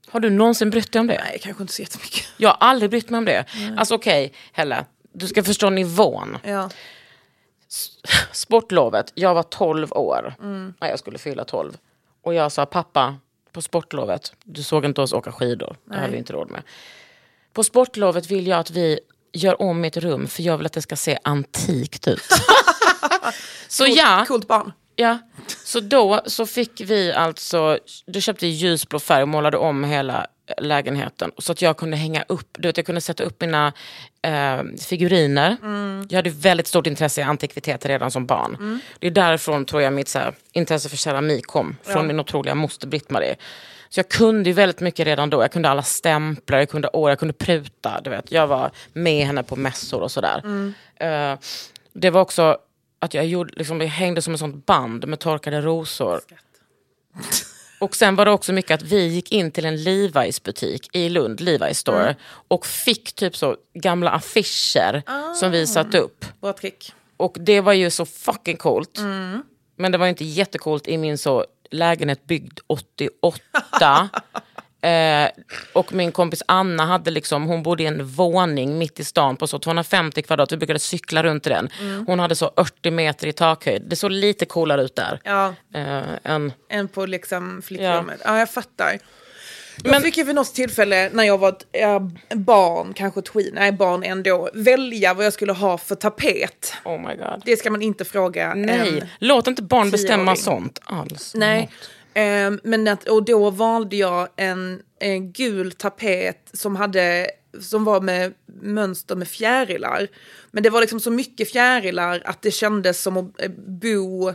[SPEAKER 4] Har du någonsin brytt dig om det?
[SPEAKER 3] nej kanske inte så jättemycket.
[SPEAKER 4] Jag har aldrig brytt mig om det. Alltså okej, Helle. Du ska förstå nivån.
[SPEAKER 3] Ja.
[SPEAKER 4] sportlovet, jag var 12 år. Nej, jag skulle fylla 12. Och jag sa, pappa, på sportlovet, du såg inte oss åka skidor. Det hade vi inte råd med. På sportlovet vill jag att vi gör om mitt rum för jag vill att det ska se antikt ut. så ja,
[SPEAKER 3] Coolt barn.
[SPEAKER 4] ja, så då så fick vi alltså, då köpte vi ljusblå färg och målade om hela lägenheten. Så att jag kunde hänga upp, du vet, jag kunde sätta upp mina eh, figuriner. Jag hade väldigt stort intresse i antikviteter redan som barn. Det är därifrån tror jag mitt så här, intresse för keramik kom. Från min otroliga moster Britt-Marie. Så jag kunde ju väldigt mycket redan då. Jag kunde alla stämplar, jag kunde år, jag kunde pruta. Du vet. Jag var med henne på mässor och sådär. Eh, det var också att jag, gjorde, liksom, jag hängde som ett sånt band med torkade rosor. Och sen var det också mycket att vi gick in till en Levi's butik i Lund, Levi's store, och fick typ så gamla affischer som vi satte upp.
[SPEAKER 3] Bra trick.
[SPEAKER 4] Och det var ju så fucking coolt. Men det var ju inte jättecoolt i min så lägenhet byggd 88. eh, och min kompis Anna hade liksom, hon bodde i en våning mitt i stan på så 250 kvadrat. Vi brukade cykla runt i den.
[SPEAKER 3] Mm.
[SPEAKER 4] Hon hade så 80 meter i takhöjd. Det såg lite coolare ut där.
[SPEAKER 3] Ja.
[SPEAKER 4] Eh, än,
[SPEAKER 3] än på liksom flickrummet. Ja. jag fattar. Jag fick ju vid något tillfälle när jag var ett, eh, barn, kanske tween, nej barn ändå, välja vad jag skulle ha för tapet.
[SPEAKER 4] oh my god.
[SPEAKER 3] Det ska man inte fråga.
[SPEAKER 4] Nej,
[SPEAKER 3] en-
[SPEAKER 4] låt inte barn bestämma
[SPEAKER 3] tioåring.
[SPEAKER 4] sånt alls. Mm.
[SPEAKER 3] nej. Ehm, men att, och då valde jag en, en gul tapet som hade som var med mönster med fjärilar. Men det var liksom så mycket fjärilar att det kändes som att eh, bo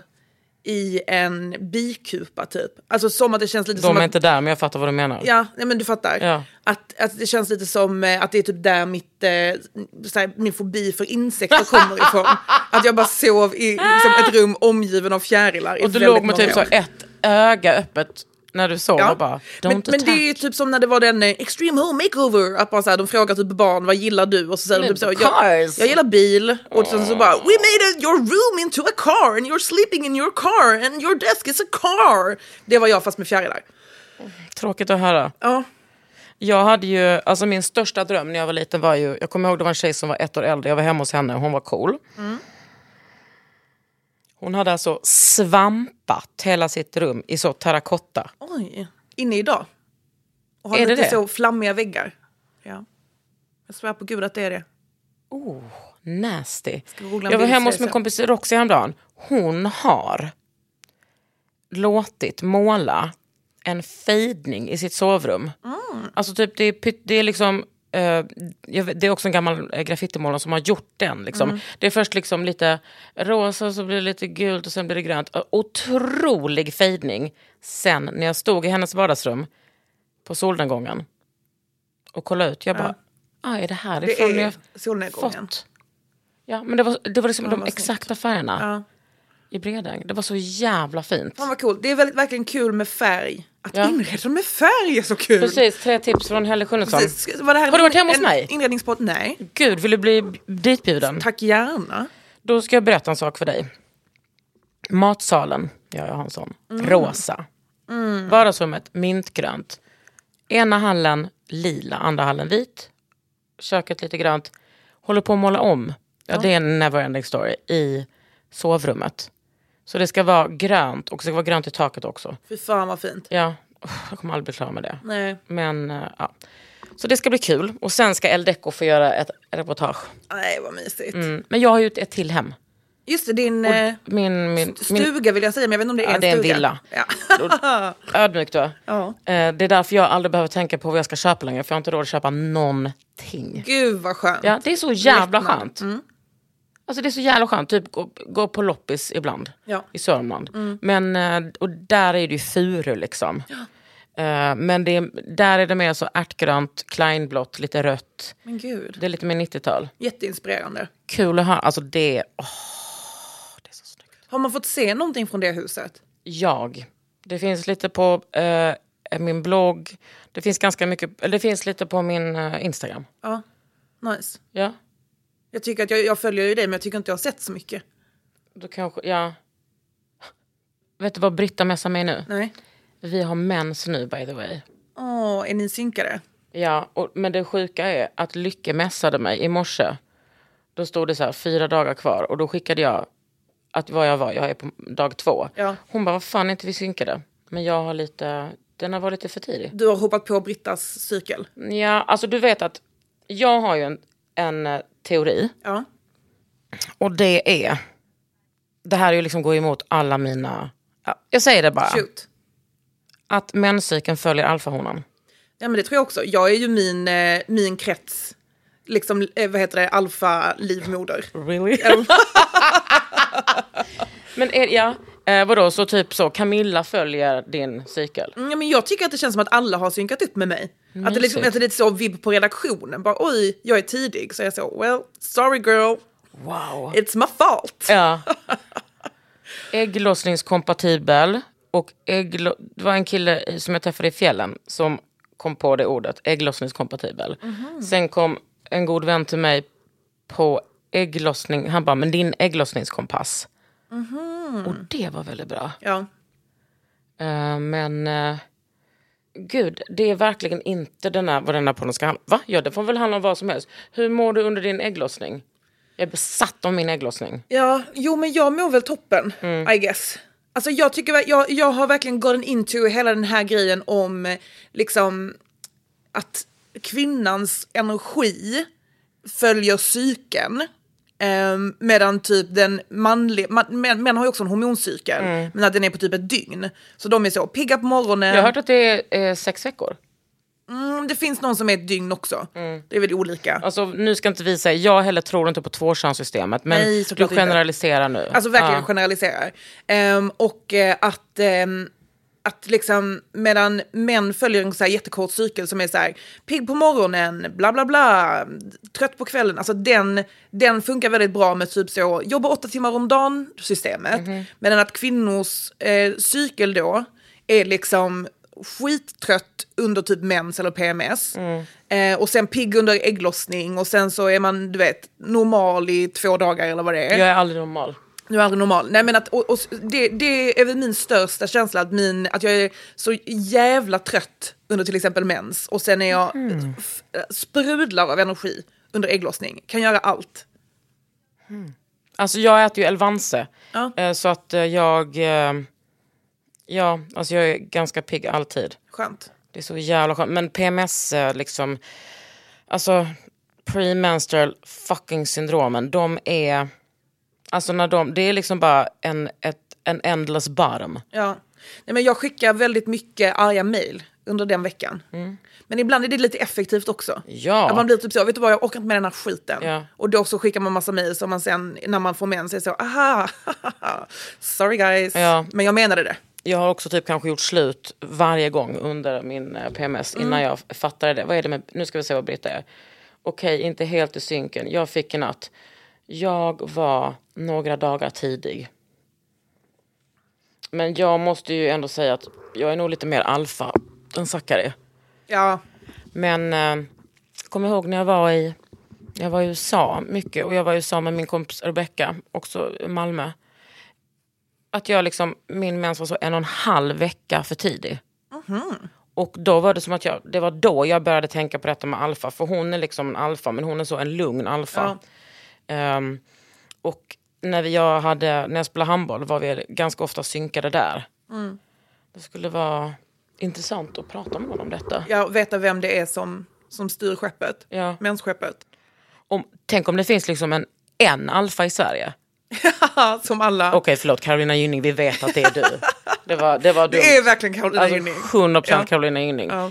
[SPEAKER 3] i en bikupa typ. Alltså som att det känns lite som
[SPEAKER 4] De är
[SPEAKER 3] att
[SPEAKER 4] inte där, men jag fattar vad du menar.
[SPEAKER 3] Ja, nej, men du fattar.
[SPEAKER 4] Ja.
[SPEAKER 3] Att, att det känns lite som eh, att det är typ där mitt, eh, såhär, min fobi för insekter kommer ifrån. att jag bara sov i liksom, ett rum omgiven av fjärilar. i
[SPEAKER 4] Och du
[SPEAKER 3] väldigt
[SPEAKER 4] låg med
[SPEAKER 3] många
[SPEAKER 4] typ så
[SPEAKER 3] år.
[SPEAKER 4] ett öga öppet när du sov och bara, don't
[SPEAKER 3] men, men det är ju typ som när det var den eh, Extreme Home Makeover, att bara så här, de frågar typ barn vad gillar du? Och så säger de typ så, jag,
[SPEAKER 4] cars.
[SPEAKER 3] jag gillar bil. Och sen så bara, we made a, your room into a car and you're sleeping in your car and your desk is a car. Det var jag fast med fjärilar.
[SPEAKER 4] Tråkigt att höra.
[SPEAKER 3] Ja.
[SPEAKER 4] Jag hade ju, alltså min största dröm när jag var liten var ju, jag kommer ihåg det var en tjej som var ett år äldre, jag var hemma hos henne, hon var cool. Hon hade alltså svampat hela sitt rum i så terrakotta.
[SPEAKER 3] Oj. Inne idag. Och har
[SPEAKER 4] Är det
[SPEAKER 3] lite
[SPEAKER 4] det?
[SPEAKER 3] så flammiga väggar. Ja. Jag svär på gud att det är det.
[SPEAKER 4] Nasty.
[SPEAKER 3] googla en
[SPEAKER 4] Jag var
[SPEAKER 3] bild
[SPEAKER 4] hemma
[SPEAKER 3] så
[SPEAKER 4] hos
[SPEAKER 3] jag
[SPEAKER 4] min
[SPEAKER 3] ser.
[SPEAKER 4] kompis Roxy häromdagen. Hon har låtit måla en fejdning i sitt sovrum.
[SPEAKER 3] Ah.
[SPEAKER 4] Alltså typ det är, pytt- det är liksom eh, jag vet- det är också en gammal eh, graffitimålare som har gjort den. Liksom.
[SPEAKER 3] Mm.
[SPEAKER 4] Det är först liksom lite rosa, så blir det lite gult och sen blir det grönt. Eh, Otrolig fejdning. Sen när jag stod i hennes vardagsrum på solnedgången och kollade ut, jag bara, ah, är det här
[SPEAKER 3] Det
[SPEAKER 4] ifrån
[SPEAKER 3] är
[SPEAKER 4] jag
[SPEAKER 3] solnedgången.
[SPEAKER 4] fått. Ja, men det var, det var liksom de
[SPEAKER 3] vad snyggt.
[SPEAKER 4] exakta färgerna.
[SPEAKER 3] Ja.
[SPEAKER 4] i Bredäng. Det var så jävla fint.
[SPEAKER 3] Fan vad coolt. Det är väldigt, verkligen kul med färg. Att
[SPEAKER 4] Ja.
[SPEAKER 3] inreda med färg är så kul.
[SPEAKER 4] Precis, tre tips från Helle Schunnesson.
[SPEAKER 3] Precis. Var det här
[SPEAKER 4] Har du varit
[SPEAKER 3] en-
[SPEAKER 4] hemma hos
[SPEAKER 3] en
[SPEAKER 4] mig? Mm.
[SPEAKER 3] Inredningspodd? Nej.
[SPEAKER 4] Gud, vill du bli ditbjuden?
[SPEAKER 3] Tack gärna.
[SPEAKER 4] Då ska jag berätta en sak för dig. Matsalen, ja jag har en sån. Rosa. Vardagsrummet, mintgrönt. Ena hallen lila, andra hallen vit. Köket lite grönt. Håller på att måla om. Ja, det är en neverending story i sovrummet. Så det ska vara grönt och det ska vara grönt i taket också.
[SPEAKER 3] Fy fan vad fint.
[SPEAKER 4] Ja, uff, jag kommer aldrig bli klar med det.
[SPEAKER 3] Nej.
[SPEAKER 4] Men eh, ja. Så det ska bli kul. Och sen ska Eldeco få göra ett reportage.
[SPEAKER 3] Nej vad mysigt.
[SPEAKER 4] Mm. Men jag har ju ett till hem.
[SPEAKER 3] Just det, din eh,
[SPEAKER 4] Min, min, min,
[SPEAKER 3] stuga vill jag säga, men jag vet inte om det är
[SPEAKER 4] Ja,
[SPEAKER 3] en
[SPEAKER 4] det är en
[SPEAKER 3] stuga.
[SPEAKER 4] villa.
[SPEAKER 3] Ja.
[SPEAKER 4] Ödmjuk då.
[SPEAKER 3] Ja.
[SPEAKER 4] Eh, Det är därför jag aldrig behöver tänka på vad jag ska köpa längre. För jag har inte råd att köpa någonting.
[SPEAKER 3] Gud vad skönt.
[SPEAKER 4] Ja, det är så jävla
[SPEAKER 3] Lättnad.
[SPEAKER 4] skönt. Alltså det är så jävla skönt. Typ gå, gå på loppis ibland.
[SPEAKER 3] Ja. Mm.
[SPEAKER 4] I Sörmland. Men, eh, och där är det ju furu liksom. Eh, Men det, är- där är det mer så ärtgrönt, kleinblått, lite rött.
[SPEAKER 3] Men gud.
[SPEAKER 4] Det är lite mer 90-tal.
[SPEAKER 3] Jätteinspirerande.
[SPEAKER 4] Kul att höra. Alltså det, åh, det är så snyggt.
[SPEAKER 3] Har man fått se någonting från det huset?
[SPEAKER 4] jag. Det finns lite på eh, min blogg. Det finns ganska mycket, eller det finns lite på min eh, Instagram.
[SPEAKER 3] Ja. Nice.
[SPEAKER 4] Ja,
[SPEAKER 3] Jag tycker att jag, jag följer ju dig men jag tycker inte jag har sett så mycket.
[SPEAKER 4] då kanske, ja. Vet du vad Britta messar mig nu?
[SPEAKER 3] Nej.
[SPEAKER 4] Vi har mens nu by the way.
[SPEAKER 3] Åh, är ni synkade?
[SPEAKER 4] Ja, och, men det sjuka är att Lycke messade mig i morse. Då stod det så här, fyra dagar kvar och då skickade jag att vad jag var, jag är på dag två.
[SPEAKER 3] Ja.
[SPEAKER 4] Hon bara, vad fan är inte vi synkade? Men jag har lite, den har varit lite för tidig.
[SPEAKER 3] Du har hoppat på Brittas cykel?
[SPEAKER 4] Ja, alltså du vet att jag har ju en, en eh, teori.
[SPEAKER 3] Ja.
[SPEAKER 4] Och det är... Det här är ju liksom går emot alla mina... ja, Jag säger det bara.
[SPEAKER 3] Shoot.
[SPEAKER 4] Att menscykeln följer alfahonan.
[SPEAKER 3] Ja men det tror jag också. Jag är ju min, eh, min krets, liksom, eh, vad heter det, alfa-livmoder.
[SPEAKER 4] Really? Men är, ja, eh, vadå, så typ så Camilla följer din cykel?
[SPEAKER 3] Mm, ja, men jag tycker att det känns som att alla har synkat upp med mig. Att det, liksom,
[SPEAKER 4] Mysigt.
[SPEAKER 3] att det är lite så vibb på redaktionen. Bara oj, jag är tidig. Så jag så, well, sorry girl,
[SPEAKER 4] Wow.
[SPEAKER 3] it's my fault.
[SPEAKER 4] Ja. Ägglossningskompatibel. Och ägglo- det var en kille som jag träffade i fjällen som kom på det ordet, ägglossningskompatibel. Sen kom en god vän till mig på ägglossning, han bara, men din ägglossningskompass. Och det var väldigt bra.
[SPEAKER 3] Ja.
[SPEAKER 4] Eh, men eh, gud, det är verkligen inte den här, vad den här podden ska handla Va? Ja, det får väl handla om vad som helst. Hur mår du under din ägglossning? Jag är besatt av min ägglossning.
[SPEAKER 3] ja, jo men jag mår väl toppen,
[SPEAKER 4] Mm.
[SPEAKER 3] I guess. Alltså jag tycker, ver- jag, jag har verkligen gotten into hela den här grejen om eh, liksom att kvinnans energi följer cykeln. ehm, medan typ den manliga, man, män, män har ju också en hormoncykel, men att den är på typ ett dygn. Så de är så pigga på morgonen.
[SPEAKER 4] Mm. Jag har hört att det är eh, sex veckor.
[SPEAKER 3] Mm, det finns någon som är ett dygn också.
[SPEAKER 4] Mm.
[SPEAKER 3] Det är väl olika.
[SPEAKER 4] Alltså, nu ska inte vi säga, jag heller tror inte på tvåkönssystemet, men
[SPEAKER 3] Nej,
[SPEAKER 4] du
[SPEAKER 3] såklart inte.
[SPEAKER 4] generaliserar nu.
[SPEAKER 3] Alltså verkligen
[SPEAKER 4] Ja.
[SPEAKER 3] generaliserar. Ehm, och eh, att, ehm, att liksom medan män följer en så här jättekort cykel som är så här pigg på morgonen, bla bla bla, trött på kvällen. Alltså den, den funkar väldigt bra med typ så jobba åtta timmar om dagen systemet.
[SPEAKER 4] Mhm.
[SPEAKER 3] Medan att kvinnors eh, cykel då är liksom skittrött under typ mens eller PMS.
[SPEAKER 4] Mm.
[SPEAKER 3] Eh, och sen pigg under ägglossning och sen så är man du vet normal i två dagar eller vad det är.
[SPEAKER 4] Jag är aldrig normal.
[SPEAKER 3] Nu är jag aldrig normal. Nej, men att, och, och, det, det är väl min största känsla, att, min, att jag är så jävla trött under till exempel mens. Och sen är jag
[SPEAKER 4] Mm.
[SPEAKER 3] f- sprudlar av energi under ägglossning. Kan göra allt.
[SPEAKER 4] Alltså jag äter ju Elvanse,
[SPEAKER 3] Ja.
[SPEAKER 4] eh, så att eh, jag... Eh, ja, alltså jag är ganska pigg alltid.
[SPEAKER 3] Skönt.
[SPEAKER 4] Det är så jävla skönt. Men PMS, eh, liksom... Alltså, premenstrual fucking syndromen, de är... Alltså när de, det är liksom bara en, ett, en endless barm.
[SPEAKER 3] Ja. Nej, men jag skickar väldigt mycket arga mejl under den veckan. Men ibland är det lite effektivt också.
[SPEAKER 4] Mm. Ja.
[SPEAKER 3] Att man blir typ så, vet du vad, jag orkar inte med den här skiten.
[SPEAKER 4] Ja.
[SPEAKER 3] Och då så skickar man massa mejl som man sen, när man får mens, är så, aha, sorry guys.
[SPEAKER 4] Ja.
[SPEAKER 3] Men jag menade det.
[SPEAKER 4] Jag har också typ kanske gjort slut varje gång under min eh, PMS innan jag f- fattade det. Vad är det med, nu ska vi se vad Britta är. Okej, inte helt i synken. Jag fick en natt. Jag var några dagar tidig. Men jag måste ju ändå säga att jag är nog lite mer alfa än Zackari.
[SPEAKER 3] Ja,
[SPEAKER 4] Men eh, kommer ihåg när jag var i jag var i USA mycket och jag var i USA med min kompis Rebecca, också i Malmö. Att jag liksom, min mens var så en och en halv vecka för tidig. Och då var det som att jag, det var då jag började tänka på detta med alfa. För hon är liksom en alfa, men hon är så en lugn alfa. Ehm, och när, vi, jag hade, när jag spelade handboll var vi ganska ofta synkade där. Det skulle vara intressant att prata med honom om detta.
[SPEAKER 3] jag veta vem det är som, som styr skeppet.
[SPEAKER 4] Ja.
[SPEAKER 3] Mensskeppet.
[SPEAKER 4] Om, tänk om det finns liksom en, en alfa i Sverige.
[SPEAKER 3] som alla.
[SPEAKER 4] Okej, förlåt Carolina Gynning, vi vet att det är du. Det var, det var dumt.
[SPEAKER 3] det är verkligen Carolina
[SPEAKER 4] alltså,
[SPEAKER 3] Gynning.
[SPEAKER 4] 100%
[SPEAKER 3] Ja.
[SPEAKER 4] Carolina Gynning.
[SPEAKER 3] Ja.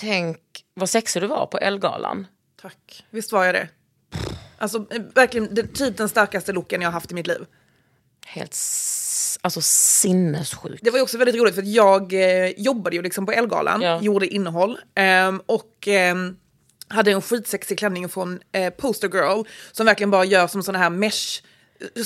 [SPEAKER 4] Tänk vad sexig du var på Elgalan.
[SPEAKER 3] Tack. Visst var jag det? Alltså eh, verkligen det, typ den starkaste looken jag har haft i mitt liv.
[SPEAKER 4] Helt s- alltså sinnessjuk.
[SPEAKER 3] Det var ju också väldigt roligt för att jag eh, jobbade ju liksom på Elgalan,
[SPEAKER 4] Ja.
[SPEAKER 3] gjorde innehåll ehm, och ehm, hade en skitsexig klänning från eh, Poster Girl som verkligen bara gör som sådana här mesh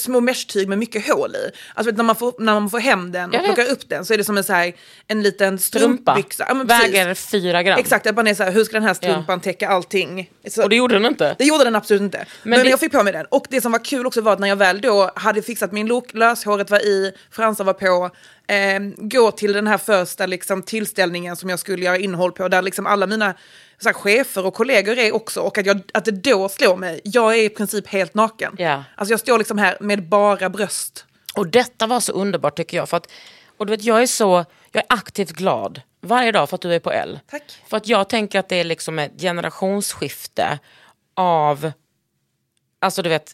[SPEAKER 3] små mesh-tyg med mycket hål i. Alltså vet, när, man får, när man får hem den
[SPEAKER 4] Jag
[SPEAKER 3] och
[SPEAKER 4] vet.
[SPEAKER 3] plockar upp den så är det som en, så här, en liten
[SPEAKER 4] Strumpa.
[SPEAKER 3] strumpbyxa. Ja, men precis.
[SPEAKER 4] Väger fyra gram.
[SPEAKER 3] Exakt, att man är så här, hur ska den här strumpan täcka allting? Så,
[SPEAKER 4] Och det gjorde den inte.
[SPEAKER 3] det gjorde den absolut inte. Men,
[SPEAKER 4] det-
[SPEAKER 3] jag fick på mig den. Och det som var kul också var att när jag väl då hade fixat min look, löshåret var i, fransar var på, ehm, gå till den här första liksom, tillställningen som jag skulle göra innehåll på, där liksom alla mina så här, chefer och kollegor är också, och att, jag, att det då slår mig, jag är i princip helt naken.
[SPEAKER 4] Ja.
[SPEAKER 3] Alltså jag står liksom här med bara bröst.
[SPEAKER 4] Och detta var så underbart tycker jag. För att, och du vet, jag är så jag är aktivt glad varje dag för att du är på L.
[SPEAKER 3] Tack.
[SPEAKER 4] För att jag tänker att det är liksom ett generationsskifte av, alltså du vet,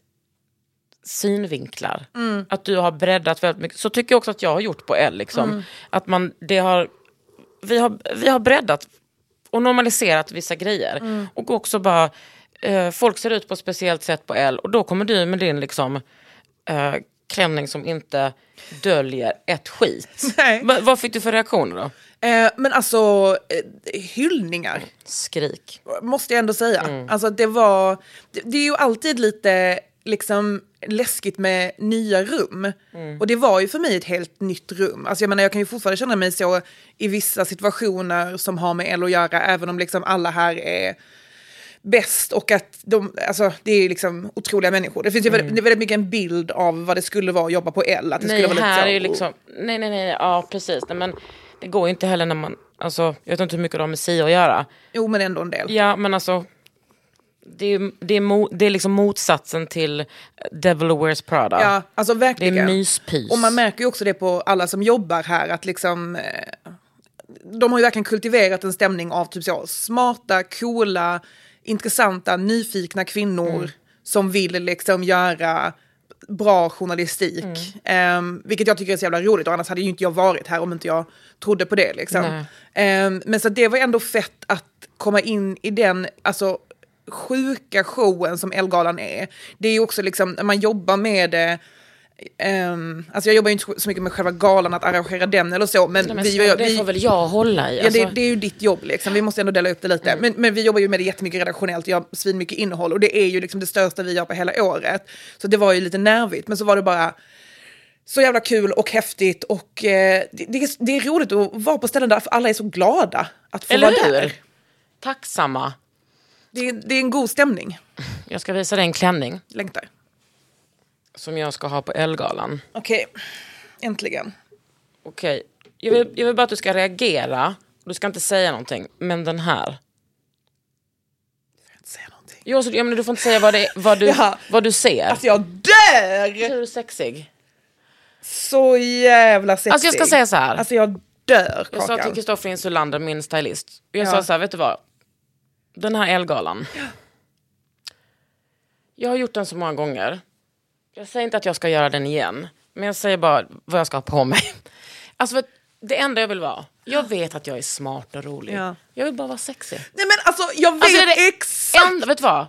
[SPEAKER 4] synvinklar. Att du har breddat väldigt mycket. Så tycker jag också att jag har gjort på L. Liksom. Att man, det har, vi, har, vi har breddat och normaliserat vissa grejer. Och också bara, eh, folk ser ut på ett speciellt sätt på L och då kommer du med din liksom, eh, klänning som inte döljer ett skit.
[SPEAKER 3] Nej.
[SPEAKER 4] Va- vad fick du för reaktioner då?
[SPEAKER 3] Eh, men alltså, eh, hyllningar.
[SPEAKER 4] Skrik.
[SPEAKER 3] måste jag ändå säga.
[SPEAKER 4] Mm.
[SPEAKER 3] Alltså det var, det, det är ju alltid lite liksom läskigt med nya rum.
[SPEAKER 4] Mm.
[SPEAKER 3] Och det var ju för mig ett helt nytt rum. Alltså jag menar jag kan ju fortfarande känna mig så i vissa situationer som har med el att göra, även om liksom alla här är bäst och att de, alltså, det är ju liksom otroliga människor. Det finns ju väldigt, det är väldigt mycket en bild av vad det skulle vara att jobba på el. Att det
[SPEAKER 4] Mm. Nej,
[SPEAKER 3] skulle vara
[SPEAKER 4] här
[SPEAKER 3] så- oh.
[SPEAKER 4] är ju liksom... Nej, nej, nej. Ja, precis. Nej, men det går ju inte heller när man... Alltså, jag vet inte hur mycket det har med SIO att göra.
[SPEAKER 3] Jo men ändå en del.
[SPEAKER 4] Ja, men alltså... Det är, det är, mo, det är liksom motsatsen till Devil Wears Prada.
[SPEAKER 3] Ja, alltså verkligen.
[SPEAKER 4] Det är myspys.
[SPEAKER 3] Och man märker ju också det på alla som jobbar här att liksom... eh, De har ju verkligen kultiverat en stämning av typ så smarta,
[SPEAKER 4] Mm.
[SPEAKER 3] coola, intressanta, nyfikna kvinnor som vill liksom göra bra
[SPEAKER 4] Mm.
[SPEAKER 3] journalistik. Ehm, vilket jag tycker är så jävla roligt. Och annars hade ju inte jag varit här om inte jag trodde på det. Liksom. Ehm, men så att det var ändå fett att komma in i den alltså, sjuka showen som Elgalan är. Det är ju också liksom, när man jobbar med eh, det. ehm, alltså jag jobbar ju inte så mycket med själva galan, att arrangera den eller så. Men,
[SPEAKER 4] Nej, men
[SPEAKER 3] vi,
[SPEAKER 4] så, det
[SPEAKER 3] vi,
[SPEAKER 4] får väl jag hålla i.
[SPEAKER 3] Ja,
[SPEAKER 4] Alltså, Mm.
[SPEAKER 3] det, det är ju ditt jobb, liksom. vi måste ändå dela upp det lite. Men, men vi jobbar ju med det jättemycket redaktionellt och gör svinmycket innehåll. Och det är ju liksom det största vi gör på hela året. Så det var ju lite nervigt, men så var det bara så jävla kul och häftigt. Och eh, det, det, är, det är roligt att vara på ställen där för alla är så glada att få
[SPEAKER 4] Eller
[SPEAKER 3] vara
[SPEAKER 4] hur?
[SPEAKER 3] där.
[SPEAKER 4] Tacksamma.
[SPEAKER 3] Det, är- det är en god stämning,
[SPEAKER 4] Jag ska visa dig en klänning
[SPEAKER 3] längtar.
[SPEAKER 4] som jag ska ha på Elgalan.
[SPEAKER 3] Okej, äntligen.
[SPEAKER 4] Okej, jag, vill, jag vill bara att du ska reagera. Du ska inte säga någonting, men den här.
[SPEAKER 3] Säg någonting.
[SPEAKER 4] Jo, så, ja, men du får inte säga vad, det, vad, du,
[SPEAKER 3] Jaha.
[SPEAKER 4] vad du ser.
[SPEAKER 3] Alltså jag dör!
[SPEAKER 4] Hur är du sexig?
[SPEAKER 3] Så jävla sexig.
[SPEAKER 4] Alltså, jag ska säga så här.
[SPEAKER 3] Alltså jag dör,
[SPEAKER 4] Jag sa till
[SPEAKER 3] Kakan.
[SPEAKER 4] Kristoffer Insulander, min stylist. Jag
[SPEAKER 3] Ja.
[SPEAKER 4] sa så här, vet du vad? Den här Elgalan. Jag har gjort den så många gånger. Jag säger inte att jag ska göra den igen. Men jag säger bara vad jag ska ha på mig. Alltså, vet- det enda jag vill vara. Jag vet att jag är smart och rolig.
[SPEAKER 3] Ja.
[SPEAKER 4] Jag vill bara vara sexig.
[SPEAKER 3] Nej men alltså jag vet
[SPEAKER 4] Alltså, det är
[SPEAKER 3] exakt!
[SPEAKER 4] Enda, vet du vad?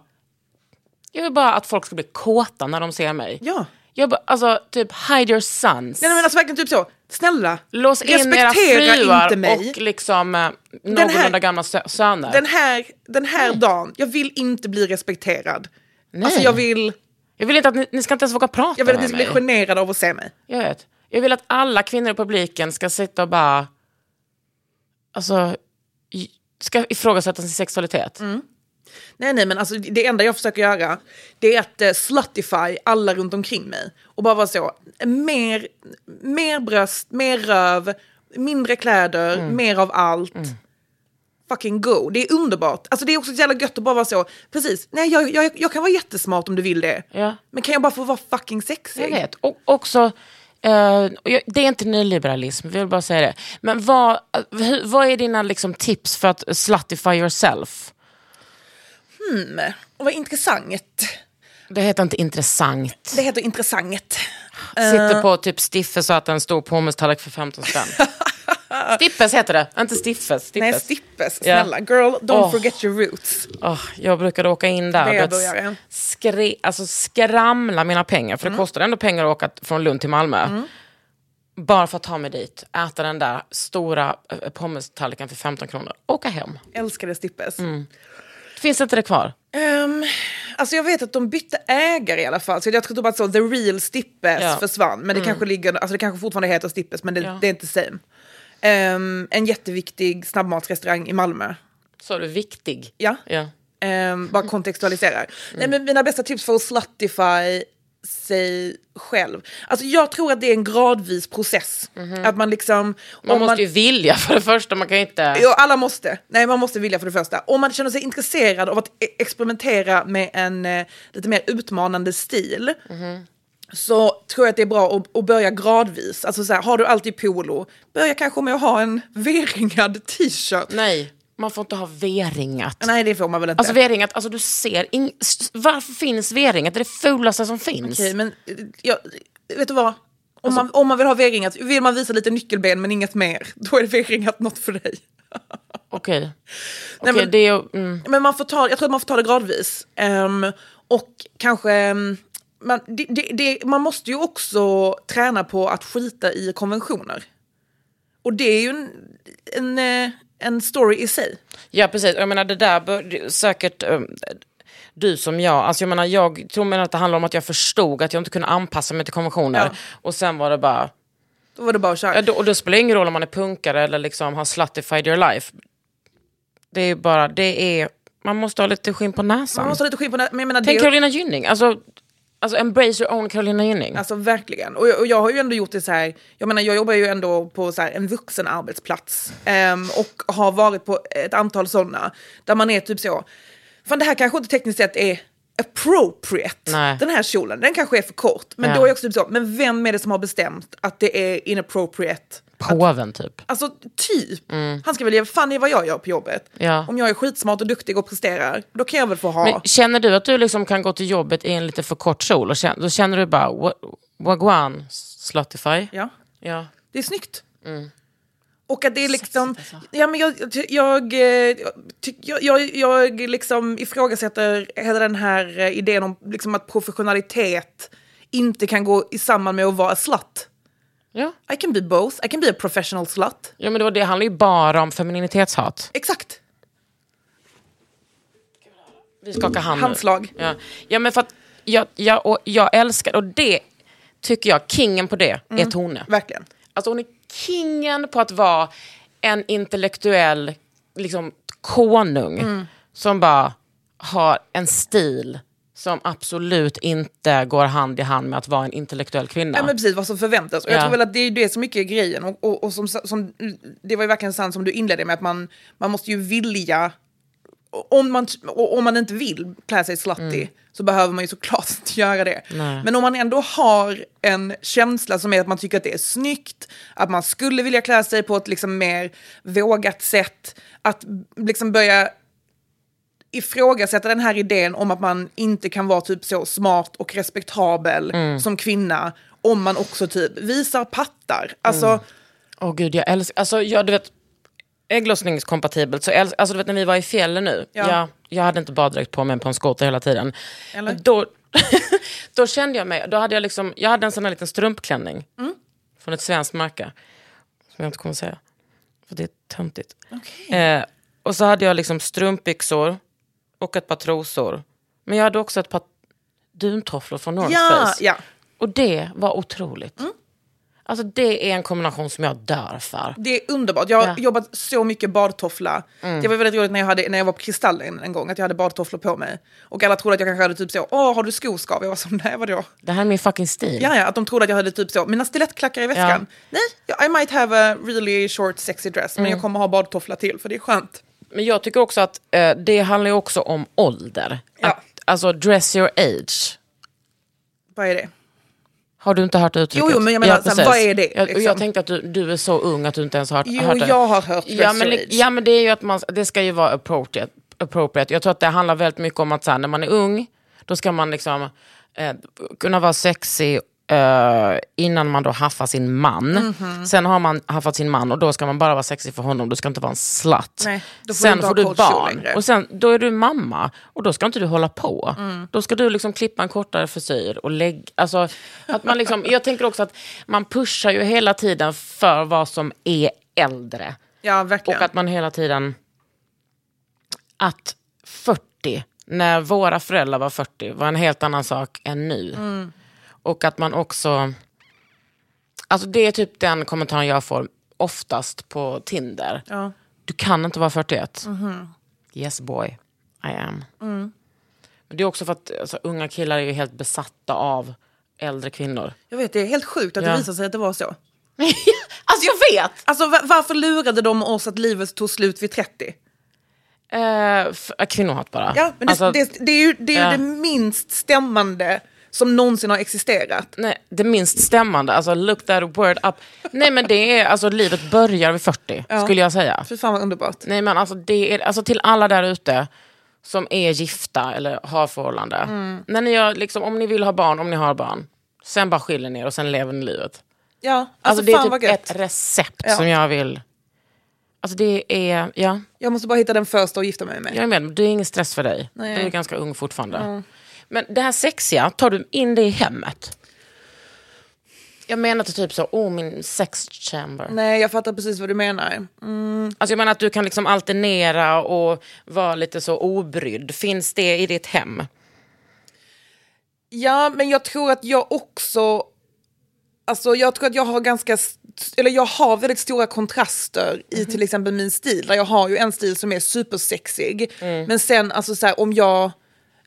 [SPEAKER 4] Jag vill bara att folk ska bli kåta när de ser mig.
[SPEAKER 3] Ja.
[SPEAKER 4] Jag bara, alltså, typ hide your sons.
[SPEAKER 3] Nej, nej, men alltså verkligen typ så. Snälla,
[SPEAKER 4] Lås in era fruar och liksom eh, någorlunda
[SPEAKER 3] här-
[SPEAKER 4] gamla sö- söner.
[SPEAKER 3] Den här, den här dagen, jag vill inte bli respekterad.
[SPEAKER 4] Nej.
[SPEAKER 3] Alltså jag vill,
[SPEAKER 4] Jag vill inte att ni, ni ska inte ens våga prata
[SPEAKER 3] jag vill att ni
[SPEAKER 4] med
[SPEAKER 3] ska
[SPEAKER 4] mig.
[SPEAKER 3] bli generade av att se mig.
[SPEAKER 4] jag vet. Jag vill att alla kvinnor i publiken ska sitta och bara... Alltså, i- ska ifrågasätta sin sexualitet.
[SPEAKER 3] Mm. Nej nej men alltså det enda jag försöker göra det är att eh, slutify alla runt omkring mig. Och bara vara så, mer, mer bröst, mer röv, mindre kläder,
[SPEAKER 4] Mm.
[SPEAKER 3] mer av allt. Fucking go, det är underbart. Alltså det är också så jävla gött att bara vara så, precis, nej jag, jag, jag kan vara jättesmart om du vill det.
[SPEAKER 4] Ja.
[SPEAKER 3] Men kan jag bara få vara fucking sexig?
[SPEAKER 4] Jag vet. Och också, eh, och jag, det är inte nyliberalism, vi vill bara säga det. Men vad, hur, vad är dina liksom, tips för att slutify yourself?
[SPEAKER 3] Och vad intressant.
[SPEAKER 4] Det heter inte intressant.
[SPEAKER 3] Det heter intressant. Eh.
[SPEAKER 4] Sitter på typ Stiffes och att en stor pommes-tallrik för 15 spänn. Stippes heter det, inte Stiffes. stippes.
[SPEAKER 3] Nej, stippes.
[SPEAKER 4] Ja.
[SPEAKER 3] Snälla, girl, don't
[SPEAKER 4] Åh.
[SPEAKER 3] forget your roots.
[SPEAKER 4] Åh, jag brukade åka in där
[SPEAKER 3] Det
[SPEAKER 4] och du
[SPEAKER 3] börjar jag. Mm.
[SPEAKER 4] vet, skri- alltså, skramla mina pengar, för det kostar ändå pengar att åka t- från Lund till Malmö. Bara för att ta mig dit, äta den där stora eh, pommes-tallriken för 15 kronor, åka hem.
[SPEAKER 3] Älskade stippes.
[SPEAKER 4] Mm. Finns inte det kvar?
[SPEAKER 3] Ehm, alltså jag vet att de bytte ägare i alla fall. Så jag tror typ att så, the real stippes
[SPEAKER 4] Ja. Mm.
[SPEAKER 3] försvann. Men det, kanske ligger, alltså det kanske fortfarande heter stippes, men det, det är inte same. Ehm, en jätteviktig snabbmatsrestaurang i Malmö.
[SPEAKER 4] Så är du viktig.
[SPEAKER 3] Ja.
[SPEAKER 4] ja. Mm.
[SPEAKER 3] Ehm, bara kontextualiserar. Nej, men mina bästa tips för att slutify sig själv. Alltså jag tror att det är en gradvis process. Att man liksom...
[SPEAKER 4] Mhm. Man
[SPEAKER 3] om
[SPEAKER 4] måste ju vilja för det första, man kan ju inte...
[SPEAKER 3] Ja, alla måste. Nej, man måste vilja för det första. Om man känner sig intresserad av att e- experimentera med en eh, lite mer utmanande stil så tror jag att det är bra att, att börja gradvis. Alltså så här, har du alltid polo, börja kanske med att ha en V-ringad t-shirt. Nej.
[SPEAKER 4] Nej, man får inte ha V-ringat.
[SPEAKER 3] det får man väl inte.
[SPEAKER 4] Alltså V-ringat, alltså du ser, ing- s- varför finns V-ringat? Det är det fulaste som finns.
[SPEAKER 3] Okej, men eh, jag, vet du vad? Om,
[SPEAKER 4] Alltså-
[SPEAKER 3] man, om man vill ha V-ringat, vill man visa lite nyckelben men inget mer, då är det V-ringat något för dig.
[SPEAKER 4] Okej,
[SPEAKER 3] Nej,
[SPEAKER 4] Okej,
[SPEAKER 3] men-
[SPEAKER 4] det är... Mm.
[SPEAKER 3] Men man får ta, jag tror att man får ta det gradvis. Ehm, och kanske... ehm, man, det, det, det, man måste ju också träna på att skita i konventioner. Och det är ju en, en, eh, en story i sig.
[SPEAKER 4] Ja precis, jag menar det där bör, det- säkert um, du som jag, alltså jag menar jag tror mer att det handlar om att jag förstod att jag inte kunde anpassa mig till konventioner
[SPEAKER 3] Ja.
[SPEAKER 4] och sen var det bara,
[SPEAKER 3] Då var det bara att köra.
[SPEAKER 4] ja, då, och då spelar det ingen roll om man är punkare eller liksom har sluttified your life. Det är ju bara, det är, man måste ha lite skinn på
[SPEAKER 3] man
[SPEAKER 4] näsan.
[SPEAKER 3] måste ha lite skinn på nä- men jag menar,
[SPEAKER 4] Tänk
[SPEAKER 3] det,
[SPEAKER 4] Carolina Gynning, alltså, alltså embrace your own Carolina Gynning.
[SPEAKER 3] Alltså verkligen. Och jag, och jag har ju ändå gjort det så här, jag menar jag jobbar ju ändå på så här, en vuxen arbetsplats ehm, och har varit på ett antal sådana där man är typ så, fan det här kanske inte tekniskt sett är appropriate,
[SPEAKER 4] Nej.
[SPEAKER 3] den här kjolen, den kanske är för kort. Men
[SPEAKER 4] Ja.
[SPEAKER 3] då är jag också typ så, men vem är det som har bestämt att det är inappropriate?
[SPEAKER 4] påven typ.
[SPEAKER 3] Alltså typ. Han ska väl ge fan i vad jag gör på jobbet.
[SPEAKER 4] Mm. Ja.
[SPEAKER 3] Om jag är skitsmart och duktig och presterar, då kan jag väl få ha.
[SPEAKER 4] Men känner du att du liksom kan gå till jobbet i en lite för kort kjol? Och känner, då känner du bara "Wa- wagwan, Slotify.
[SPEAKER 3] Ja,
[SPEAKER 4] Ja.
[SPEAKER 3] det är snyggt. Och att det är liksom, ja men jag, jag, jag, eh, tyck- jag, jag, jag liksom ifrågasätter hela den här eh, idén om liksom att professionalitet inte kan gå i samband med att vara slatt.
[SPEAKER 4] Ja.
[SPEAKER 3] I can be both, I can be a professional slut.
[SPEAKER 4] ja, men det, var det handlar ju bara om femininitetshat.
[SPEAKER 3] Exakt.
[SPEAKER 4] Vi skakar hand nu.
[SPEAKER 3] Handslag.
[SPEAKER 4] Ja. ja, men för att jag, jag, och jag älskar, och det tycker jag, kingen på det är Tone.
[SPEAKER 3] Verkligen.
[SPEAKER 4] Alltså hon är kingen på att vara en intellektuell liksom, konung
[SPEAKER 3] Mm.
[SPEAKER 4] som bara har en stil som absolut inte går hand i hand med att vara en intellektuell kvinna.
[SPEAKER 3] Ja. men precis, vad som förväntas. Och
[SPEAKER 4] Ja.
[SPEAKER 3] jag tror väl att det är det som mycket är grejen. Och, och, och som, som, det var ju verkligen sant som du inledde med, att man, man måste ju vilja... Om man, och om man inte vill klä sig slattig så behöver man ju såklart inte göra det.
[SPEAKER 4] Mm. Nej.
[SPEAKER 3] Men om man ändå har en känsla som är att man tycker att det är snyggt, att man skulle vilja klä sig på ett liksom mer vågat sätt, att liksom börja ifrågasätta den här idén om att man inte kan vara typ så smart och respektabel
[SPEAKER 4] Mm.
[SPEAKER 3] som kvinna om man också typ visar pattar. Alltså,
[SPEAKER 4] Mm. Åh gud, jag älskar... Alltså, jag, du vet, ägglossningskompatibelt. Så älsk, alltså, du vet när vi var i fjällen nu.
[SPEAKER 3] Ja.
[SPEAKER 4] Jag, jag hade inte baddräkt på mig på en skoter hela tiden.
[SPEAKER 3] Eller?
[SPEAKER 4] Då, då kände jag mig... Då hade jag, liksom, jag hade en sån här liten strumpklänning.
[SPEAKER 3] Mm.
[SPEAKER 4] Från ett svenskt märke. Som jag inte kommer säga. För det är töntigt. Eh, och så hade jag liksom strumpbyxor och ett par trosor. Men jag hade också ett par duntofflor från North
[SPEAKER 3] ja,
[SPEAKER 4] Face.
[SPEAKER 3] ja,
[SPEAKER 4] Och det var otroligt.
[SPEAKER 3] Mm.
[SPEAKER 4] Alltså det är en kombination som jag dör för.
[SPEAKER 3] det är underbart. Jag har
[SPEAKER 4] Ja. Mm.
[SPEAKER 3] jobbat så mycket badtoffla. Det var väldigt roligt när jag, hade, när jag var på Kristallen en gång, att jag hade badtofflor på mig. Och alla trodde att jag kanske hade typ så, åh har du skoskav? Jag var så, nej vadå?
[SPEAKER 4] Det här är min fucking stil.
[SPEAKER 3] Ja, ja, att de trodde att jag hade typ så, mina stilettklackar i väskan. Nej, jag- I might have a really short sexy dress,
[SPEAKER 4] Mm.
[SPEAKER 3] men jag kommer ha badtoffla till för det är skönt.
[SPEAKER 4] Men jag tycker också att eh, det handlar ju också om ålder.
[SPEAKER 3] Ja.
[SPEAKER 4] Att, alltså dress your age.
[SPEAKER 3] Vad är det?
[SPEAKER 4] Har du inte hört
[SPEAKER 3] Jo,
[SPEAKER 4] uttrycket?
[SPEAKER 3] jo, men jag menar, så här,
[SPEAKER 4] precis.
[SPEAKER 3] vad är det,
[SPEAKER 4] Jag, och jag
[SPEAKER 3] liksom?
[SPEAKER 4] tänkte att du, du är så ung att du inte ens har hört,
[SPEAKER 3] Jo,
[SPEAKER 4] hört det.
[SPEAKER 3] jag har hört
[SPEAKER 4] ja,
[SPEAKER 3] dress
[SPEAKER 4] men,
[SPEAKER 3] your
[SPEAKER 4] li-
[SPEAKER 3] age.
[SPEAKER 4] ja, men det är ju att man, det ska ju vara appropriate. appropriate. Jag tror att det handlar väldigt mycket om att så här, när man är ung, då ska man liksom eh, kunna vara sexig eh, innan man då haffar sin man.
[SPEAKER 3] Mhm.
[SPEAKER 4] Sen har man haffat sin man och då ska man bara vara sexig för honom, du ska inte vara en slatt.
[SPEAKER 3] Nej, då får du
[SPEAKER 4] sen
[SPEAKER 3] inte ha
[SPEAKER 4] får du
[SPEAKER 3] kort kjol
[SPEAKER 4] barn
[SPEAKER 3] längre.
[SPEAKER 4] och sen, då är du mamma och då ska inte du hålla på.
[SPEAKER 3] Mm.
[SPEAKER 4] Då ska du liksom klippa en kortare frisyr och lägga... Alltså, att man liksom, jag tänker också att man pushar ju hela tiden för vad som är äldre.
[SPEAKER 3] Ja, verkligen.
[SPEAKER 4] Och att man hela tiden... Att 40, när våra föräldrar var 40, var en helt annan sak än nu.
[SPEAKER 3] Mm.
[SPEAKER 4] Och att man också... Alltså det är typ den kommentaren jag får oftast på Tinder.
[SPEAKER 3] Ja. Mm-hmm.
[SPEAKER 4] Du kan inte vara 41. Yes boy, I am.
[SPEAKER 3] Mm.
[SPEAKER 4] Men det är också för att alltså, unga killar är ju helt besatta av äldre kvinnor.
[SPEAKER 3] Jag vet, det är helt sjukt att
[SPEAKER 4] Ja.
[SPEAKER 3] det visar sig att det var så.
[SPEAKER 4] alltså jag vet!
[SPEAKER 3] Alltså va- varför lurade de oss att livet tog slut vid 30?
[SPEAKER 4] Eh, f- kvinnohat bara.
[SPEAKER 3] Ja, men det,
[SPEAKER 4] Alltså,
[SPEAKER 3] det, det är ju det, är ju
[SPEAKER 4] ja.
[SPEAKER 3] det minst stämmande som någonsin har existerat.
[SPEAKER 4] Nej, det minst stämmande, alltså look that word up. Nej men det är, alltså livet börjar vid 40 skulle jag säga.
[SPEAKER 3] Fy fan vad underbart.
[SPEAKER 4] Nej men alltså, det är, alltså till alla där ute som är gifta eller har förhållande.
[SPEAKER 3] Mm.
[SPEAKER 4] När ni gör, liksom, om ni vill ha barn, om ni har barn. Sen bara skiljer ni er och sen lever ni livet.
[SPEAKER 3] Ja, alltså,
[SPEAKER 4] Alltså, det
[SPEAKER 3] fan
[SPEAKER 4] är
[SPEAKER 3] vad
[SPEAKER 4] typ
[SPEAKER 3] gött.
[SPEAKER 4] ett recept
[SPEAKER 3] Ja.
[SPEAKER 4] som jag vill... Alltså det är, ja,
[SPEAKER 3] Jag måste bara hitta den första och gifta mig med.
[SPEAKER 4] jag är med. Det är ingen stress för dig.
[SPEAKER 3] Nej.
[SPEAKER 4] Du är ganska ung fortfarande. Men det här sexiga, tar du in det i hemmet? Jag menar inte typ så, oh min sex chamber.
[SPEAKER 3] Nej, jag fattar precis vad du menar. Mm.
[SPEAKER 4] Alltså jag menar att du kan liksom alternera och vara lite så obrydd. Finns det i ditt hem?
[SPEAKER 3] Ja, men jag tror att jag också... Alltså jag tror att jag har ganska... st- Eller jag har väldigt stora kontraster i till exempel min stil. Där jag har ju en stil som är supersexig. Men sen alltså så här, om jag,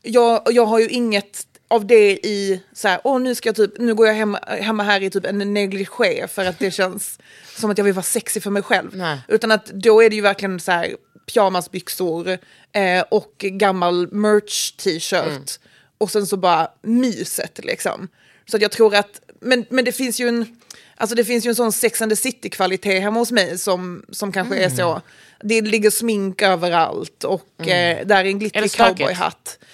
[SPEAKER 3] jag... Jag har ju inget av det i så här, åh nu ska jag typ, nu går jag hemma, hemma här i typ en negligé för att det känns som att jag vill vara sexig för mig själv.
[SPEAKER 4] Nej.
[SPEAKER 3] Utan att då är det ju verkligen så här pyjamasbyxor eh, och gammal merch t-shirt. Och sen så bara myset liksom. Så att jag tror att men, men det finns ju en... Alltså det finns ju en sån Sex and the City-kvalitet hemma hos mig som, som kanske är så. Det ligger smink överallt och eh, där är en
[SPEAKER 4] Är det
[SPEAKER 3] glittrig
[SPEAKER 4] stökigt?
[SPEAKER 3] cowboyhatt. Eh,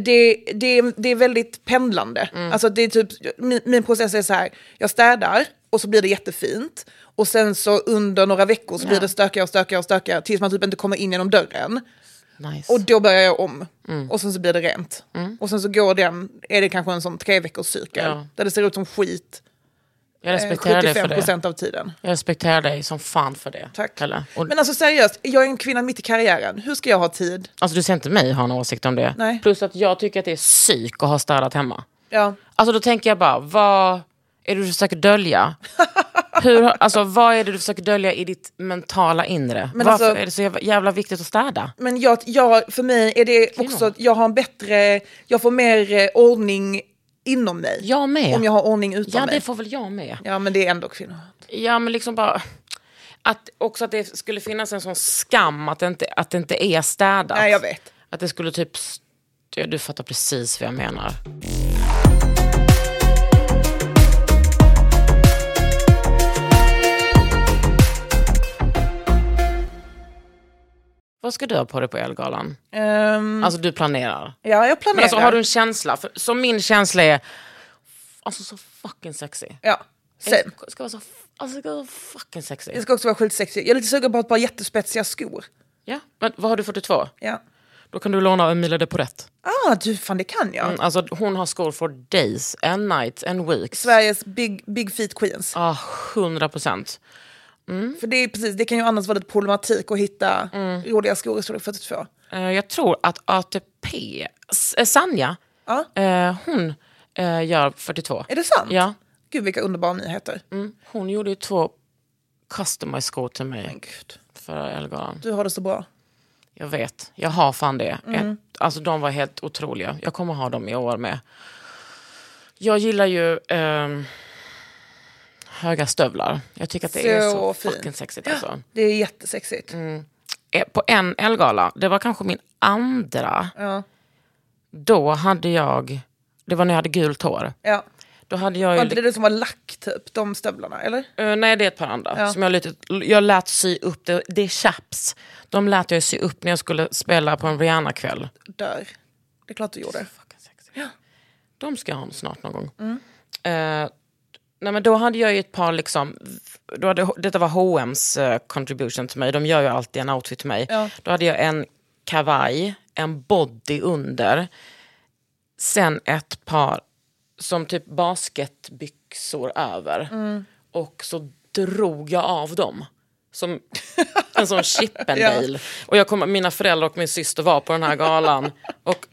[SPEAKER 3] Det, det, det är väldigt pendlande. Alltså det är typ, min, min process är så här, jag städar och så blir det jättefint. Och sen så under några veckor så blir det stökigare och stökigare och stökigare tills man typ inte kommer in genom dörren.
[SPEAKER 4] Nice.
[SPEAKER 3] Och då börjar jag om.
[SPEAKER 4] Mm.
[SPEAKER 3] Och sen så blir det rent. Och sen så går den, är det kanske en sån tre veckors cykel.
[SPEAKER 4] Ja.
[SPEAKER 3] Där det ser ut som skit
[SPEAKER 4] jag
[SPEAKER 3] eh,
[SPEAKER 4] respekterar dig för det.
[SPEAKER 3] 75% av tiden.
[SPEAKER 4] Jag respekterar dig som fan för det.
[SPEAKER 3] Tack.
[SPEAKER 4] Pelle. Och,
[SPEAKER 3] Men alltså seriöst, jag är en kvinna mitt i karriären. Hur ska jag ha tid?
[SPEAKER 4] alltså, du ser inte mig ha en åsikt om det.
[SPEAKER 3] Nej.
[SPEAKER 4] Plus att jag tycker att det är psyk att ha städat hemma.
[SPEAKER 3] Ja.
[SPEAKER 4] Alltså då tänker jag bara, vad är det du försöker dölja? Hur, alltså, vad är det du försöker dölja i ditt mentala inre?
[SPEAKER 3] Men
[SPEAKER 4] Varför
[SPEAKER 3] alltså-
[SPEAKER 4] är det så jävla, jävla viktigt att städa?
[SPEAKER 3] Men jag, jag, för mig är det också att jag har en bättre, jag får mer eh, ordning inom mig.
[SPEAKER 4] Jag med.
[SPEAKER 3] Om jag har ordning utom
[SPEAKER 4] ja,
[SPEAKER 3] mig.
[SPEAKER 4] det får väl jag med.
[SPEAKER 3] Ja, men det är ändå kvinnor.
[SPEAKER 4] Ja, men liksom bara... Att också att det skulle finnas en sån skam att det inte, att det inte är städat.
[SPEAKER 3] Nej, jag vet.
[SPEAKER 4] Att det skulle typ... st- Ja, Du fattar precis vad jag menar. Vad ska du ha på dig på Elgalan?
[SPEAKER 3] Ehm,
[SPEAKER 4] Alltså du planerar.
[SPEAKER 3] ja, jag planerar.
[SPEAKER 4] Men alltså har du en känsla? För, som min känsla är... Alltså så fucking sexy.
[SPEAKER 3] Ja, same.
[SPEAKER 4] Jag ska vara så, f- alltså, jag ska vara så fucking sexy.
[SPEAKER 3] Jag ska också vara skitsexig. Jag är lite sugen på ett par jättespetsiga skor.
[SPEAKER 4] Ja, men vad har du 42?
[SPEAKER 3] Ja.
[SPEAKER 4] Då kan du låna Emilia de Porrette.
[SPEAKER 3] Ah, du, fan det kan jag.
[SPEAKER 4] Mm, alltså, hon har skor for days, and nights, and weeks.
[SPEAKER 3] Sveriges big, big feet queens.
[SPEAKER 4] Ah, 100 procent. Mm.
[SPEAKER 3] För det är precis, det kan ju annars vara lite problematik att hitta roliga skor i storlek 42.
[SPEAKER 4] Eh, jag tror att ATP, S- eh, Sanja,
[SPEAKER 3] Ja.
[SPEAKER 4] eh, hon eh, gör 42.
[SPEAKER 3] Är det sant?
[SPEAKER 4] Ja, Mm.
[SPEAKER 3] Gud vilka underbara nyheter.
[SPEAKER 4] hon gjorde ju två customized skor till mig
[SPEAKER 3] Men gud,
[SPEAKER 4] förra Elgalan.
[SPEAKER 3] du har det så bra.
[SPEAKER 4] Jag vet, jag har fan det.
[SPEAKER 3] Mm.
[SPEAKER 4] Ett, alltså de var helt otroliga. Jag kommer ha dem i år med. Jag gillar ju ehm, höga stövlar. Jag tycker att det är så
[SPEAKER 3] Så fint.
[SPEAKER 4] fucking sexigt alltså.
[SPEAKER 3] Det är jättesexigt.
[SPEAKER 4] eh, på en Elgala, det var kanske min andra, då hade jag, det var när jag hade gult hår.
[SPEAKER 3] Ja.
[SPEAKER 4] Då hade jag ju,
[SPEAKER 3] Var inte det det som var lack typ, de stövlarna eller?
[SPEAKER 4] Eh, nej det är ett par andra. Som jag, lite, jag lät sy upp, det, det är chaps. De lät jag sy upp när jag skulle spela på en Rihanna-kväll.
[SPEAKER 3] Dör. Det är klart du gjorde.
[SPEAKER 4] De ska jag ha snart någon gång. Eh, nej, men då hade jag ju ett par, liksom, då hade, detta var H&M's eh, contribution till mig. De gör ju alltid en outfit till mig. Då hade jag en kavaj, en body under. Sen ett par som typ basketbyxor över. Och så drog jag av dem. Som en sån Chippendale. Och jag kom, mina föräldrar och min syster var på den här galan. Och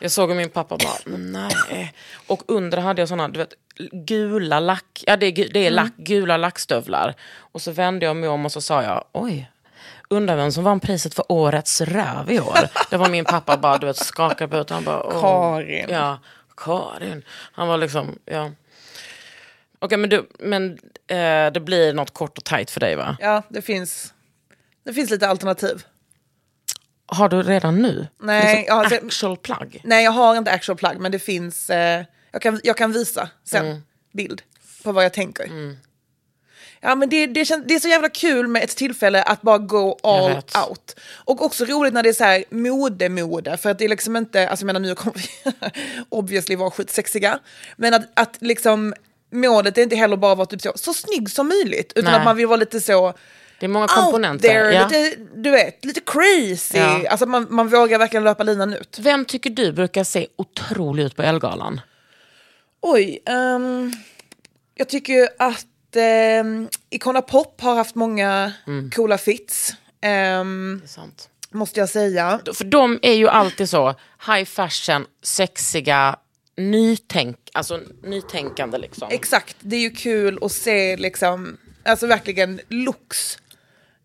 [SPEAKER 4] jag såg hur min pappa bara, "Men nej. Och under hade jag såna, du vet, gula lack, ja det är, gu- det är
[SPEAKER 3] Mm.
[SPEAKER 4] lack, gula lackstövlar. Och så vände jag mig om och så sa jag, oj. Undrar vem som vann priset för årets röv i år. Det var min pappa bara, du vet, skakade på huvudet. Han bara, "Åh."
[SPEAKER 3] Karin.
[SPEAKER 4] Ja, Karin. Han var liksom, ja. Okej, men, du, men eh, det blir något kort och tajt för dig va?
[SPEAKER 3] Ja, det finns, det finns lite alternativ.
[SPEAKER 4] Har du redan nu?
[SPEAKER 3] Nej,
[SPEAKER 4] liksom,
[SPEAKER 3] ja, alltså, det-
[SPEAKER 4] actual plagg?
[SPEAKER 3] Nej, jag har inte actual plagg, men det finns... Eh, jag, kan, jag kan visa sen
[SPEAKER 4] Mm.
[SPEAKER 3] bild på vad jag tänker. Ja, men det, det, känns, det är så jävla kul med ett tillfälle att bara gå all
[SPEAKER 4] vet.
[SPEAKER 3] out. Och också roligt när det är så här mode-mode, för att det är liksom inte... Alltså jag menar, nu kommer vi obviously vara skitsexiga. Men att, att liksom... Målet är inte heller bara att vara typ så, så snygg som möjligt, utan
[SPEAKER 4] Nej.
[SPEAKER 3] att man vill vara lite så
[SPEAKER 4] Det är många
[SPEAKER 3] out
[SPEAKER 4] komponenter.
[SPEAKER 3] Oh, there,
[SPEAKER 4] ja.
[SPEAKER 3] lite, du vet, lite crazy.
[SPEAKER 4] Ja.
[SPEAKER 3] Alltså man, man vågar verkligen löpa linan ut.
[SPEAKER 4] Vem tycker du brukar se otrolig ut på Elgalan?
[SPEAKER 3] Oj. ehm, jag tycker ju att um, Icona Pop har haft många
[SPEAKER 4] Mm.
[SPEAKER 3] coola fits. ehm,
[SPEAKER 4] Sant.
[SPEAKER 3] måste jag säga.
[SPEAKER 4] För de är ju alltid så high fashion, sexiga, nytänk, alltså, nytänkande liksom.
[SPEAKER 3] Exakt, det är ju kul att se liksom, alltså verkligen looks.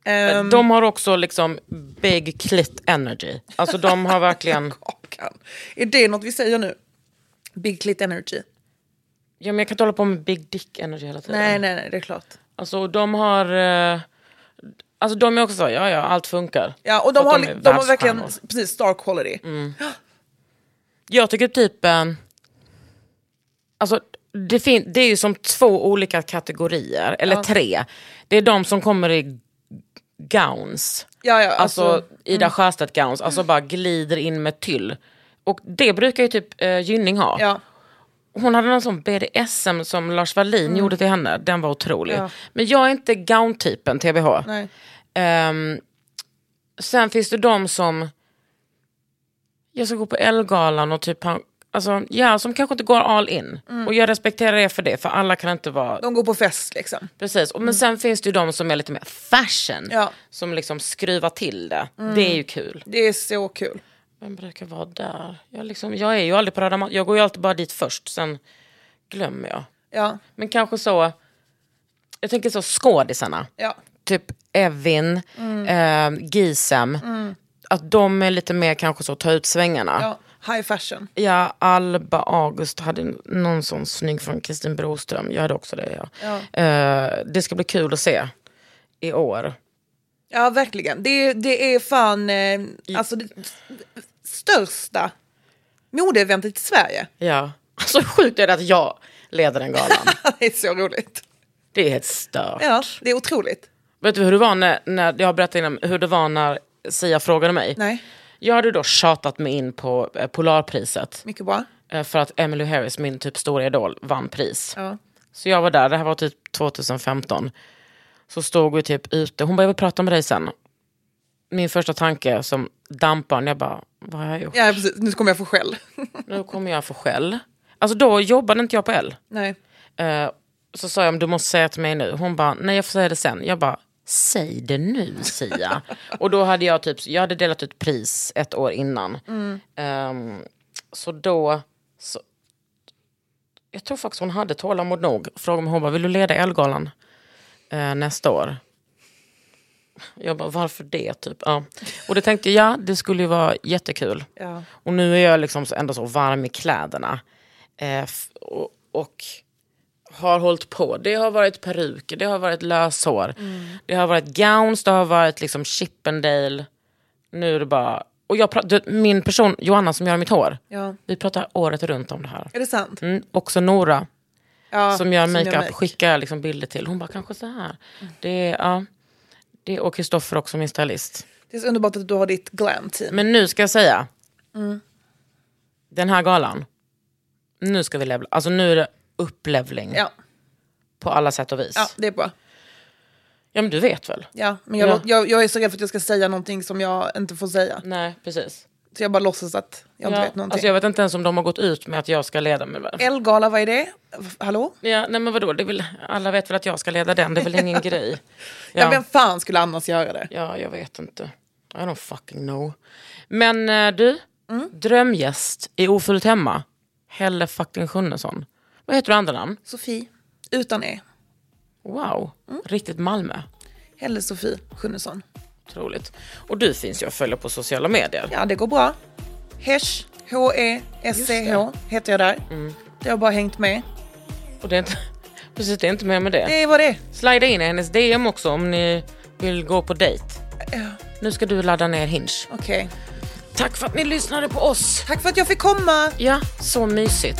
[SPEAKER 3] Ehm,
[SPEAKER 4] de har också liksom big clit energy. Alltså de har verkligen...
[SPEAKER 3] Kakan. Är det något vi säger nu? Big clit energy.
[SPEAKER 4] Ja, men jag kan inte hålla på med big dick energy hela tiden.
[SPEAKER 3] Nej, nej, nej, det är klart.
[SPEAKER 4] Alltså de har... Eh, alltså de är också så, ja ja, allt funkar.
[SPEAKER 3] Ja, och
[SPEAKER 4] För
[SPEAKER 3] de
[SPEAKER 4] att
[SPEAKER 3] har,
[SPEAKER 4] är
[SPEAKER 3] de de har verkligen
[SPEAKER 4] världsstjärnor. Mm.
[SPEAKER 3] precis star quality.
[SPEAKER 4] Jag tycker typ... Eh, alltså det, fin- det är ju som två olika kategorier, eller tre. Det är de som kommer i gowns.
[SPEAKER 3] Ja, ja,
[SPEAKER 4] Alltså,
[SPEAKER 3] alltså,
[SPEAKER 4] Ida Sjöstedt gowns, alltså bara glider in med tyll. Och det brukar ju typ eh, Gynning ha.
[SPEAKER 3] ja.
[SPEAKER 4] Hon hade någon sån BDSM som Lars Wallin
[SPEAKER 3] Mm.
[SPEAKER 4] gjorde till henne. Den var otrolig. Men jag är inte gown-typen, TBH.
[SPEAKER 3] Nej.
[SPEAKER 4] Ehm, sen finns det de som... Jag ska gå på Ellegalan och typ... han- Alltså, ja, som kanske inte går all in. Och jag respekterar er för det, för alla kan inte vara...
[SPEAKER 3] De går på fest liksom.
[SPEAKER 4] Precis. Och, men sen finns det ju de som är lite mer fashion.
[SPEAKER 3] Ja.
[SPEAKER 4] Som liksom skruvar till det. Det är ju kul.
[SPEAKER 3] Det är så kul.
[SPEAKER 4] Vem brukar vara där? Jag, liksom, jag är ju aldrig på röda mattan. Jag går ju alltid bara dit först, sen glömmer jag.
[SPEAKER 3] Ja,
[SPEAKER 4] Men kanske så... Jag tänker så skådisarna.
[SPEAKER 3] ja.
[SPEAKER 4] Typ Evin, eh, Gisem. Att de är lite mer kanske så ta ut svängarna. Ja.
[SPEAKER 3] ja. High fashion.
[SPEAKER 4] Alba August hade någon sån snygg från Kristin Broström. Jag hade också det. Ja. Eh, det ska bli kul att se i år.
[SPEAKER 3] Ja, verkligen. Det, det är fan eh, alltså det största modeeventet i Sverige.
[SPEAKER 4] Ja. Alltså sjukt är det att jag leder den galan.
[SPEAKER 3] det är så roligt.
[SPEAKER 4] det är helt stört.
[SPEAKER 3] Ja, det är otroligt.
[SPEAKER 4] Vet du hur det var när, när jag har berättat innan hur det var när Sia frågade mig?
[SPEAKER 3] Nej,
[SPEAKER 4] Jag hade då tjatat mig in på eh, Polarpriset.
[SPEAKER 3] mycket bra.
[SPEAKER 4] Eh, För att Emily Harris, min typ stora idol, vann pris.
[SPEAKER 3] Ja.
[SPEAKER 4] Så jag var där, det här var typ 2015. Så stod vi typ ute, hon bara, jag vill prata med dig sen. Min första tanke som damparen, jag bara, vad har jag gjort?
[SPEAKER 3] Ja, precis. Nu kommer jag få skäll.
[SPEAKER 4] Nu kommer jag få skäll. Alltså då jobbade inte jag på L.
[SPEAKER 3] Nej.
[SPEAKER 4] Eh, så sa jag, "Men du måste säga till mig nu. Hon bara, nej jag får säga det sen. Jag bara, säg det nu Sia. och då hade jag typ, jag hade delat ut pris ett år innan. Ehm, så då, så, jag tror faktiskt hon hade tålamod nog. Frågade mig, hon bara, vill du leda Elgalan eh, nästa år? Jag bara, varför det? Typ. Ja. Och det tänkte jag, ja, det skulle ju vara jättekul.
[SPEAKER 3] Ja.
[SPEAKER 4] Och nu är jag liksom så- ändå så varm i kläderna. Eh, f- och, och har hållit på. Det har varit peruker, det har varit löshår. Det har varit gowns, det har varit liksom Chippendale. Nu är det bara... Och jag pra- du, min person, Joanna som gör mitt hår.
[SPEAKER 3] Ja.
[SPEAKER 4] Vi pratar året runt om det här.
[SPEAKER 3] Är det sant?
[SPEAKER 4] Mm, också Nora
[SPEAKER 3] Ja,
[SPEAKER 4] som gör makeup Mm.
[SPEAKER 3] make.
[SPEAKER 4] skickar jag liksom bilder till. Hon bara, kanske så här. Det är, ja. det är, och Kristoffer också, min stylist.
[SPEAKER 3] Det är så underbart att du har ditt glam-team.
[SPEAKER 4] Men nu ska jag säga.
[SPEAKER 3] Mm.
[SPEAKER 4] Den här galan. Nu ska vi levla. Alltså nu är det upplevling
[SPEAKER 3] Ja,
[SPEAKER 4] på alla sätt och vis. Ja.
[SPEAKER 3] ja, det är bra.
[SPEAKER 4] men du vet väl?
[SPEAKER 3] Ja, men jag,
[SPEAKER 4] Ja.
[SPEAKER 3] lå- Jag, jag är så rädd för att jag ska säga någonting som jag inte får säga.
[SPEAKER 4] Nej, precis.
[SPEAKER 3] Så jag bara låtsas att jag inte
[SPEAKER 4] Ja,
[SPEAKER 3] vet någonting.
[SPEAKER 4] alltså jag vet inte ens om de har gått ut med att jag ska leda. Men...
[SPEAKER 3] Elgala, vad är det? F- Hallå?
[SPEAKER 4] Ja, nej men vadå, det är väl... alla vet väl att jag ska leda den. Det är väl ingen grej.
[SPEAKER 3] Ja. vem fan skulle annars göra det?
[SPEAKER 4] Ja, jag vet inte. I don't fucking know. Men eh, du,
[SPEAKER 3] Mm.
[SPEAKER 4] drömgäst i Ofullt hemma. Helle fucking Sjunnesson. Vad heter du i andra namn?
[SPEAKER 3] Sofie, utan E.
[SPEAKER 4] Wow,
[SPEAKER 3] Mm.
[SPEAKER 4] riktigt Malmö.
[SPEAKER 3] Helle Sofie Sjunnesson.
[SPEAKER 4] Otroligt. Och du finns ju att följa på sociala medier.
[SPEAKER 3] Ja, det går bra. Hesh, E H-E-S-C-H heter jag där. Det har bara hängt med.
[SPEAKER 4] Och det är inte, precis, det är inte mer med det.
[SPEAKER 3] Det var det.
[SPEAKER 4] Slida in i hennes DM också om ni vill gå på dejt.
[SPEAKER 3] Ja,
[SPEAKER 4] Nu ska du ladda ner Hinge.
[SPEAKER 3] Okej.
[SPEAKER 4] Tack för att ni lyssnade på oss.
[SPEAKER 3] Tack för att jag fick komma.
[SPEAKER 4] Ja, så mysigt.